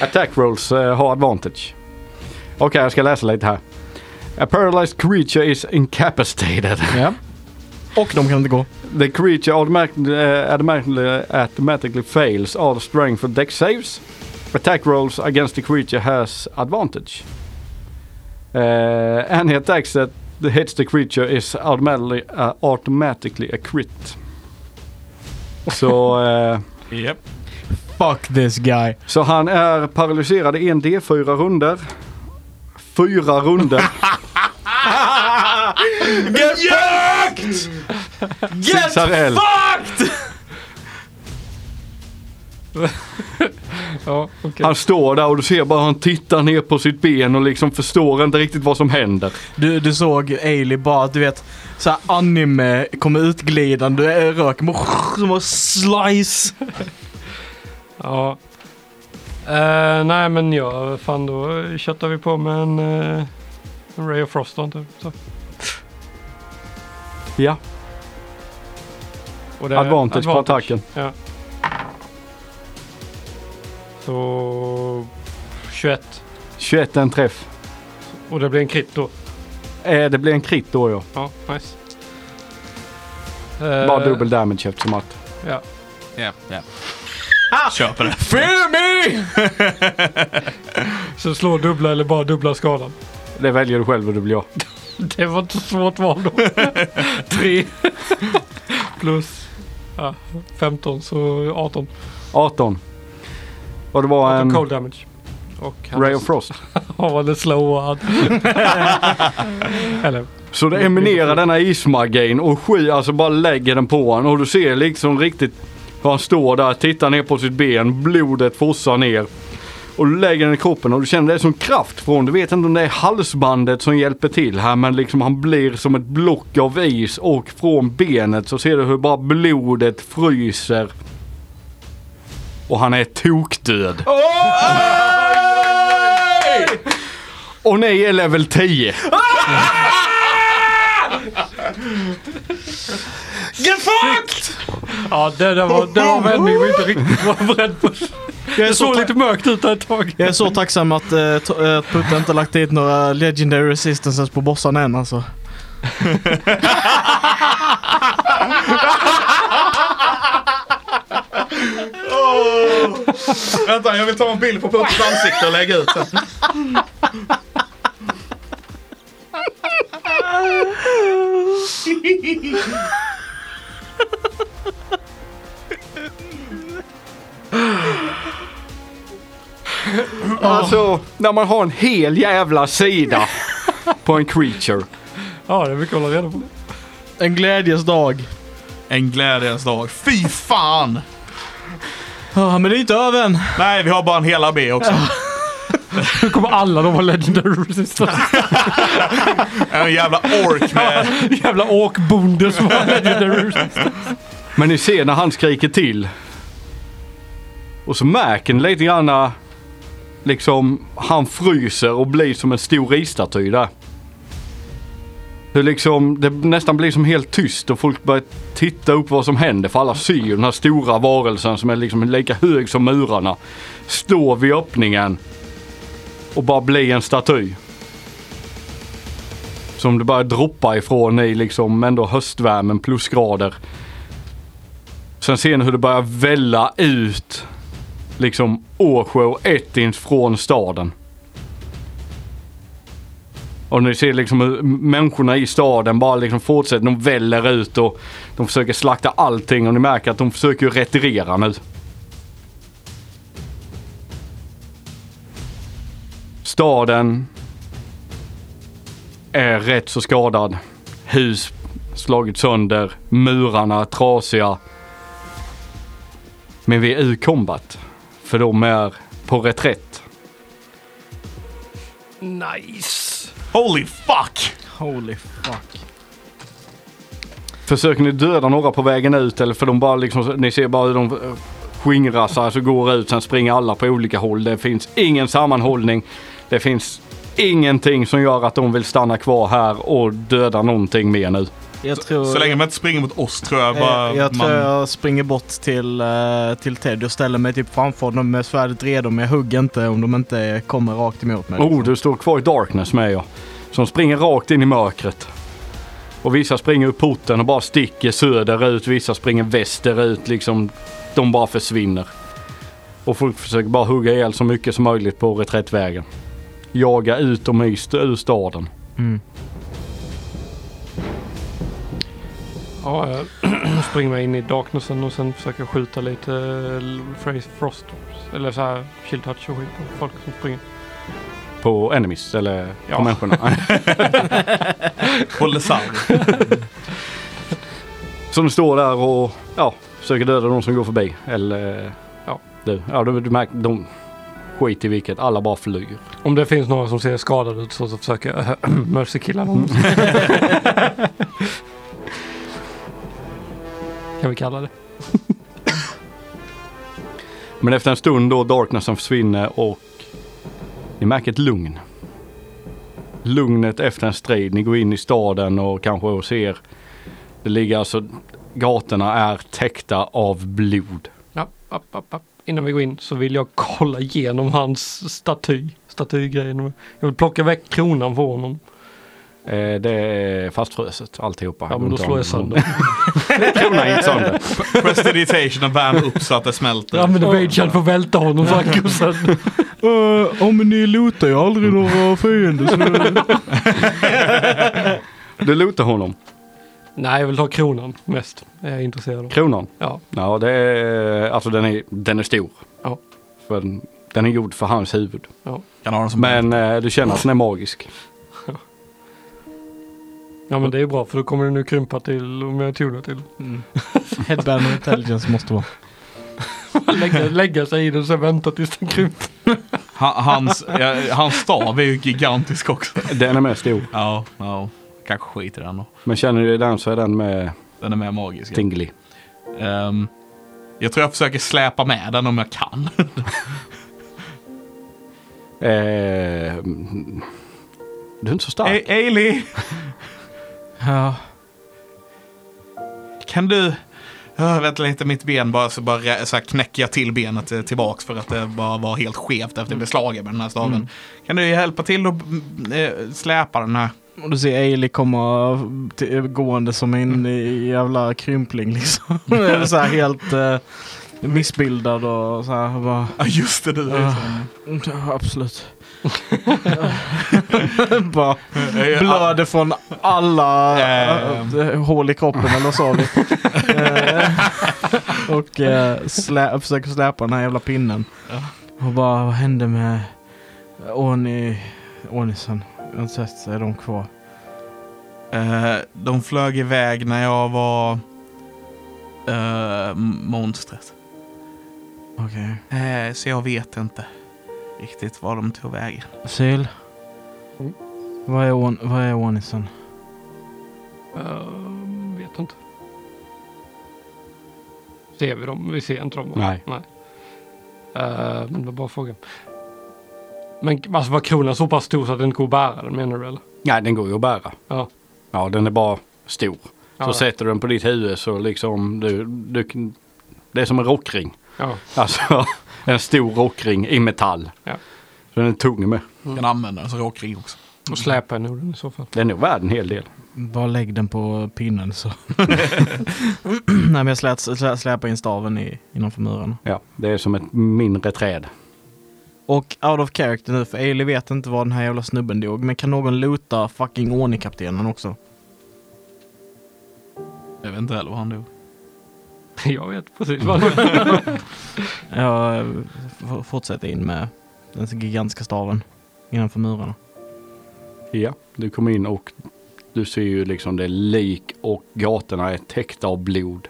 Attack rolls eh, har advantage. Okej, jag ska läsa lite här. A paralyzed creature is incapacitated. Ja. Och de kan inte gå. The creature automatically, uh, automatically, automatically fails all strength for deck saves. Attack rolls against the creature has advantage. Uh, any attacks that hits the creature is automatically, uh, automatically a crit. Så, eh, Japp. Fuck this guy. så han är paralyserad i en D4 runder. Fyra runder. Get fucked! Get Sarell. fucked! Ja, okej. Han står där och du ser bara han tittar ner på sitt ben och liksom förstår inte riktigt vad som händer. Du, du såg Ailey bara, du vet, så här anime kommer utglidande, eh, röken bara- som en slice. Ja. Eh, nej men ja, fan då köttar vi på med en, eh, en Ray of Frost då, typ. Så. Ja. Och det är Advantage på attacken. Ja. Så 21. 21 är en träff. Och det blir en krit då. Eh, det blir en crit då ja. Ja, nice. Bara Eh, dubbel damage eftersom att... Ja. Ja, ja. Kör på det. Fear me! Eh, Så slå dubbla eller bara dubbla skadan. Det väljer du själv hur du blir. Det var inte svårt val då. Tre. Plus ja, 15 så 18. 18. Och det var 18 en cold damage. Och Ray of Frost. Ja, vad det slowad. Eller, Så det eminerar denna ismagain och sky, alltså bara lägger den på honom. Och du ser liksom riktigt hur han står där, tittar ner på sitt ben, blodet forsar ner. Och du lägger den i kroppen och du känner det är som kraft från, du vet inte om det är halsbandet som hjälper till här men liksom han blir som ett block av is och från benet så ser du hur bara blodet fryser. Och han är tokdöd. Och ni är level 10. Get fucked! Ja, det där var, det var en vändning vi inte riktigt var beredd på. Jag typ är, Det så såg ta- lite mörkt ut där ett tag. jag är så tacksam att eh, to- eh, att Putte inte lagt dit några legendary resistances på bossarna än alltså. Vänta, jag vill ta en bild på Puttes ansikte och lägga ut den. Alltså, när man har en hel jävla sida på en creature. Ja, det är mycket att hålla reda på. En glädjes dag. En glädjens dag. Fy fan! Ah, men det är inte över än. Nej, vi har bara en hel AB också. Nu kommer alla de vara legendary resistance. En jävla ork med... Jävla åkbonde som var legendary resistance. Men ni ser när han skriker till. Och så märker ni lite grann när, liksom han fryser och blir som en stor isstaty där. Det, liksom, det nästan blir som helt tyst och folk börjar titta upp vad som händer för alla ser ju den här stora varelsen som är liksom lika hög som murarna. Står vid öppningen och bara blir en staty. Som det börjar droppa ifrån i liksom ändå höstvärmen plusgrader. Sen ser ni hur det börjar välla ut liksom Åsjö och Ettins från staden. Och ni ser liksom hur människorna i staden bara liksom fortsätter. De väller ut och de försöker slakta allting och ni märker att de försöker ju retirera nu. Staden är rätt så skadad. Hus slagit sönder, murarna är trasiga. Men vi är ur combat. För de är på reträtt. Nice. Holy fuck! Holy fuck. Försöker ni döda några på vägen ut eller för de bara liksom, ni ser bara hur de eh, skingrar sig så går ut. Sen springer alla på olika håll. Det finns ingen sammanhållning. Det finns ingenting som gör att de vill stanna kvar här och döda någonting mer nu. Jag tror... eh, Så länge man inte springer mot oss tror jag bara... Jag, jag tror man... jag springer bort till, eh, till Ted och ställer mig typ framför dem med svärdet redo men jag hugger inte om de inte kommer rakt emot mig. liksom. Oh, du står kvar i darkness med jag. Som springer rakt in i mörkret. Och vissa springer upp porten och bara sticker söderut. Vissa springer västerut liksom. De bara försvinner. Och folk försöker bara hugga ihjäl så mycket som möjligt på reträttvägen. Jaga ut dem i st- ur staden. Mm. Ja, jag springer mig in i darknessen och sen försöker jag skjuta lite eh, phrase frost. Eller så här shield touch och skit på folk som springer. På enemies eller Ja. på människorna. På Lesauri. så de står där och ja, försöker döda de som går förbi. Eller Ja. du. Ja, du, du märker. De skit i vilket. Alla bara flyr. Om det finns några som ser skadade ut så, så försöker jag mercy-killa dem. kan vi kalla det. Men efter en stund då darknessen försvinner och ni märker ett lugn. Lugnet efter en strid. Ni går in i staden och kanske och ser. Det ligger alltså, gatorna är täckta av blod. Ja, app, app, app. Innan vi går in så vill jag kolla igenom hans staty. Statygrejen. Jag vill plocka väck kronan från honom. Eh, det är fastfruset alltihopa. Ja, men då slår jag sönder. Kronan gick sönder. Prestidigitation och värm upp så att det smälter. Jag använder magen för att välta honom så han går sönder. Eh, ja men ni lootar ju aldrig några fiender så... Du lutar honom. Nej, jag vill ha kronan mest. Jag är intresserad av. Kronan. Ja, Ja, det är, alltså den är, den är stor. ja, För den, den är gjord för hans huvud. ja. Kan ha den som Men eh, du känner att den är magisk. Ja men det är ju bra för då kommer den nu krympa till om jag tunar till. Headband och intelligence måste vara. Lägga, lägga sig i den och sen vänta tills den krymper. Ha- Hans, ja, hans stav är ju gigantisk också. Den är mest stor. Ja, ja. Kanske skiter i den då. Men känner du den så är den med Den är mer magisk. tingly. Ehm, jag tror jag försöker släpa med den om jag kan. Eh, Eh. mm, du är inte så stark. Ey- Eili! Ja. Kan du... Uh, vänta lite, mitt ben bara, så bara rä- så här knäcker jag till benet eh, tillbaks för att det bara var helt skevt efter att jag blev slagen med den här staven. Kan du hjälpa till att mm, eh, släpa den här? Och du ser Ailey komma till, gående som en Mm. jävla krympling liksom. så här helt eh, missbildad och så här bara, Ja, just det. Du. Ja. "Ja, absolut. bara Eh, blöder från alla Ehm. eh, hål i kroppen eller så. Eh, och eh, slä, försöker släpa den här jävla pinnen. Ja. Och bara, vad hände med Oni, Onisen? Jag har inte sett, är de kvar? Eh, de flög iväg när jag var eh, monstret. Okej. Eh, så jag vet inte riktigt var de tog vägen. Syl. Mm. Vad är, on- vad är Onisen? Ehm, vet inte. Ser vi dem? Vi ser inte dem. va? Nej. Nej. Ehm, det var bara frågan. Men alltså var kronan så pass stor så att den inte går att bära den menar du eller? Nej, den går ju att bära. Ja. Ja, den är bara stor. Ja, Så sätter du den på ditt huvud så liksom du, du, det är som en rockring. Ja. Alltså en stor rockring i metall. Ja. Så den är tung med. Kan använda den som rockring också. Och släpa henne ur den i så fall. Den är nog värd en hel del. Bara lägg den på pinnen så. Nej men jag slät, slä, släpar in staven i, innanför murarna. Ja, det är som ett mindre träd. Och out of character nu för Ailey vet inte var den här jävla snubben dog. Men kan någon luta fucking Oni-kaptenen också? Jag vet inte heller var han dog. Jag vet precis vad det är. Jag eh, f- fortsätter in med den gigantiska staven innanför murarna. Ja, du kommer in och du ser ju liksom det är lik och gatorna är täckta av blod.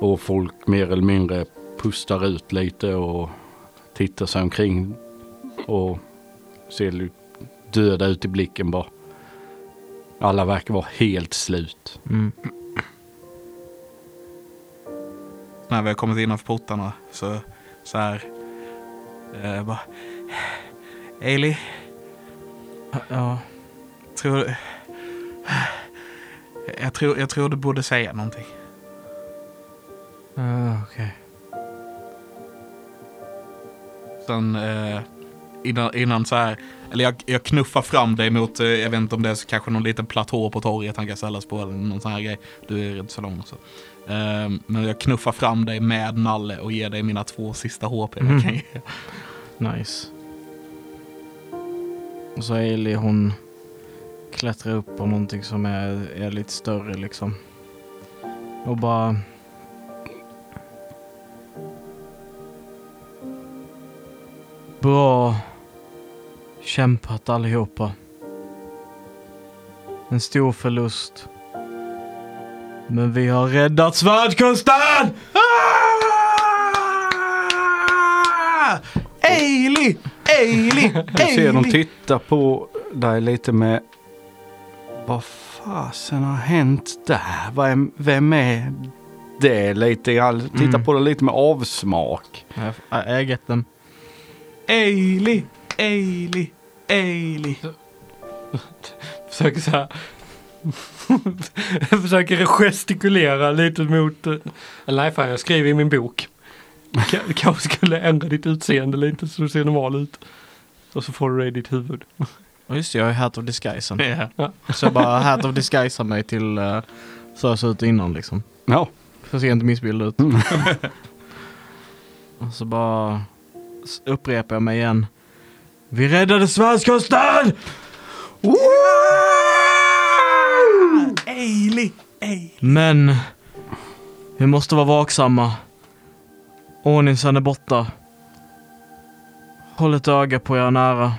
Och folk mer eller mindre pustar ut lite och tittar sig omkring och ser ju döda ut i blicken bara. Alla verkar vara helt slut. Mm. När vi har kommit innanför portarna så, så här... Eh, bara... Ailey, Ja, tror du... Jag tror, jag tror du borde säga någonting. eh, okej. Sen eh, innan, innan så här, eller jag, jag knuffar fram dig mot, eh, jag vet inte om det är så kanske någon liten platå på torget han kan ställas på eller någon sån här grej. Du är rätt så lång också. Eh, men jag knuffar fram dig med nalle och ger dig mina två sista HP. jag Mm. kan ge. Nice. Och så Ailey hon klättrar upp på någonting som är, är lite större liksom. Och bara... Bra kämpat allihopa. En stor förlust. Men vi har räddat Svärdkusten! Ah! Ailey! Ailey! Du ser de Ailey! titta på dig lite med vad fasen har hänt där? Vad är, vem är det lite grann? Titta Mm. på det lite med avsmak. I, I get them. Ailey! Ailey! Ailey! Försöker så här. Försöker gestikulera lite mot... eh, Eller nej fan jag skriver i min bok. Ka- Kanske skulle ändra ditt utseende lite så du ser normal ut. Och så får du det i ditt huvud. Och just det, jag har Hat of Disguisen. Ja. Så jag bara hat of disguisar mig till eh, så jag såg ut innan liksom. Ja, För att se inte missbild ut. Och så bara s- upprepar jag mig igen. Vi räddade Sverigeskusten! Ailey! Ailey! Men vi måste vara vaksamma. Ordningsen är borta. Håll ett öga på er nära.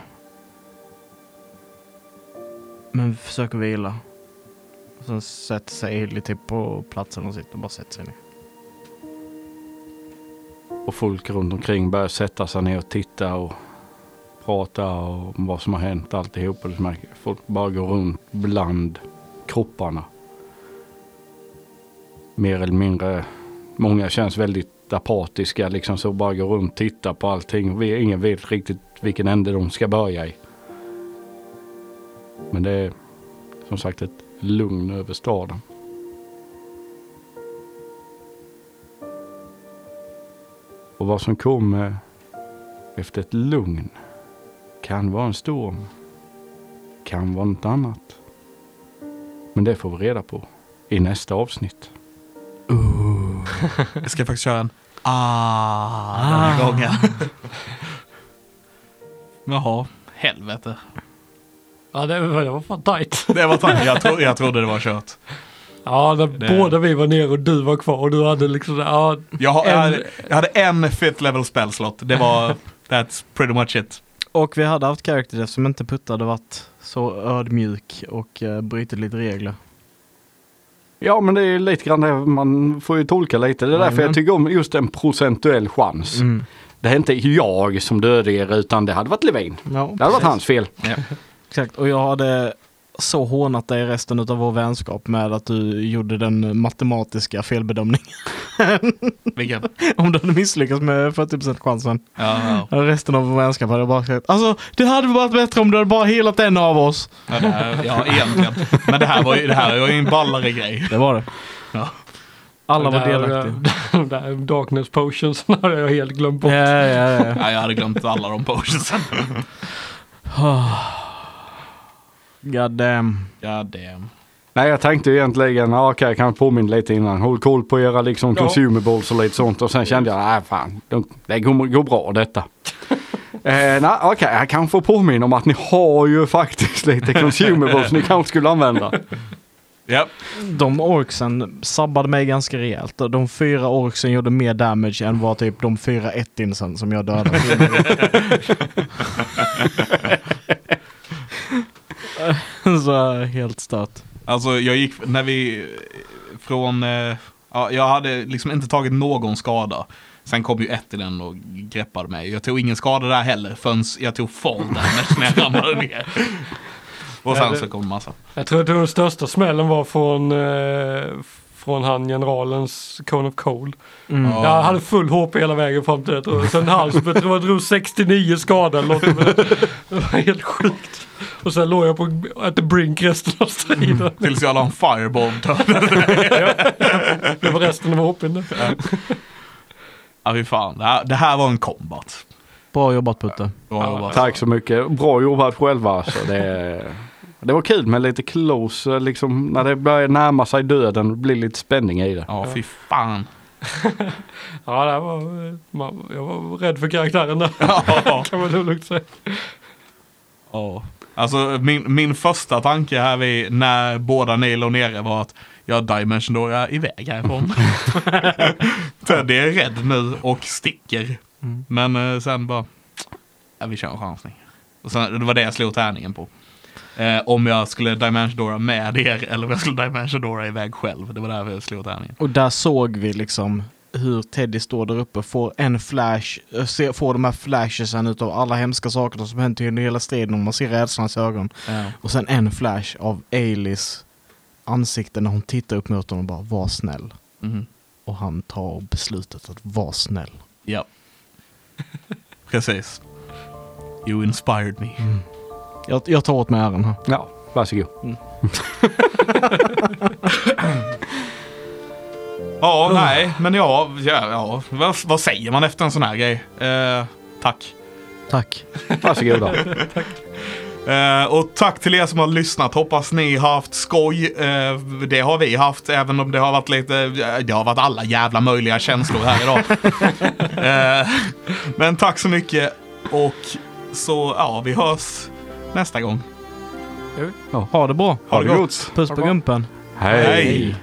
Men försök att vila. Sen sätter sig Ailey typ på platsen och sitter och bara sätter sig ner. och folk runt omkring börjar sätta sig ner och titta och prata om vad som har hänt alltihop. Och du märker att Folk bara går runt bland kropparna. Mer eller mindre. Många känns väldigt apatiska liksom så bara går runt och tittar på allting. Vi- Ingen vet riktigt vilken ände de ska börja i. Men det är som sagt ett lugn över staden. Och vad som kommer efter ett lugn kan vara en storm. Kan vara något annat. Men det får vi reda på i nästa avsnitt. Jag ska faktiskt köra en ah den här gången. Jaha, helvete. Ja, det, var- det var fan tajt. Det var tanken. Jag, tro, jag trodde det var kört. Ja, när Det- båda vi var nere och du var kvar och du hade liksom, ja, Jag, har- jag, En- hade, jag hade en fifth level spellslot. Det var, that's pretty much it. Och vi hade haft character death som inte puttade varit så ödmjuk och uh, brutit lite regler. Ja, men det är lite grann det man får ju tolka lite. Det är därför Jajamän. jag tycker om just en procentuell chans. Mm. Det är inte jag som dödade er utan det hade varit Levin. Ja, Det hade varit hans fel. Exakt, och jag hade så hånat dig resten av vår vänskap med att du gjorde den matematiska felbedömningen. Vilken? Om du hade misslyckats med 40% chansen. Ja, ja. Resten av vår vänskap hade jag bara sagt, alltså det hade varit bättre om du hade bara helat en av oss. Ja, det här, ja, egentligen. Men det här var ju, det här var ju en ballare grej. Det var det. Ja. Alla var där- delaktiga. De där eh, darkness potions hade jag helt glömt bort. Ja, eh, ja, ja. Ja, jag hade glömt alla de potionsen. God damn. God damn. Nej, jag tänkte egentligen, ja, okej, jag kan påminna lite innan. Håll koll på era liksom Ja. consumables och lite sånt. Och sen kände jag, nej fan, de, det går, går bra detta. eh, nej, okej, jag kan få påminna om att ni har ju faktiskt lite consumables ni kanske skulle använda. Ja, De orksen sabbade mig ganska rejält. De fyra orksen gjorde mer damage än vad typ de fyra ettinsen som jag dödade. Så helt stört. alltså jag gick, när vi, från, eh, ja, jag hade liksom inte tagit någon skada. Sen kom ju ett i den och greppade mig. Jag tog ingen skada där heller förrän jag tog fall damage när jag ramlade ner. Och sen så kom det massa. Jag tror att den största smällen var från, eh, från han generalens Cone of Cold. Mm. Ja. Jag hade full HP hela vägen fram till det. tror jag. Sen hals, jag tror jag drog 69 skador eller något. Det var helt sjukt. Och sen låg jag på at the brink resten av striden. Tills jag la en fireball död. Det var resten av HPn. där. Ja fy fan, det här, det här var en combat. Bra jobbat Putte. Bra Ja, jobbat. Tack så mycket. Bra jobbat själva alltså. Det, det var kul med lite close, eh, liksom när det börjar närma sig döden. Det blir lite spänning i det. Ja fy fan. Ja, det här var, eh, man, jag var rädd för karaktären där. Kan man nog lugnt säga. Ja. Alltså min, min första tanke här vid, när båda ni låg nere var att jag dimensionerar iväg härifrån. Teddy är rädd nu och sticker. Men eh, sen bara, ja, vi kör en chansning. Och sen, det var det jag slog tärningen på. Eh, om jag skulle dimensionera med er eller om jag skulle dimensionera iväg själv. Det var därför jag slog tärningen. Och där såg vi liksom hur Teddy står där uppe, får en flash, eh, ser- får de här flashesen utav alla hemska sakerna som hänt under hela striden och man ser rädslan i hans ögon. Och sen en flash av Ailis ansikte när hon tittar upp mot honom och bara var snäll. Mhm. Och han tar beslutet att vara snäll. Ja. Precis. You inspired me. Jag, jag tar åt mig äran här. Ja, varsågod. Ja, nej, men ja, ja, ja. Vad, vad säger man efter en sån här grej? Eh, tack. Tack. Varsågoda. Eh, och tack till er som har lyssnat. Hoppas ni har haft skoj. Eh, det har vi haft, även om det har varit lite... eh, Det har varit alla jävla möjliga känslor här idag. eh, men tack så mycket. Och så, ja, vi hörs nästa gång. Ha det bra. Ha det gott. Puss på gumpen. Hej.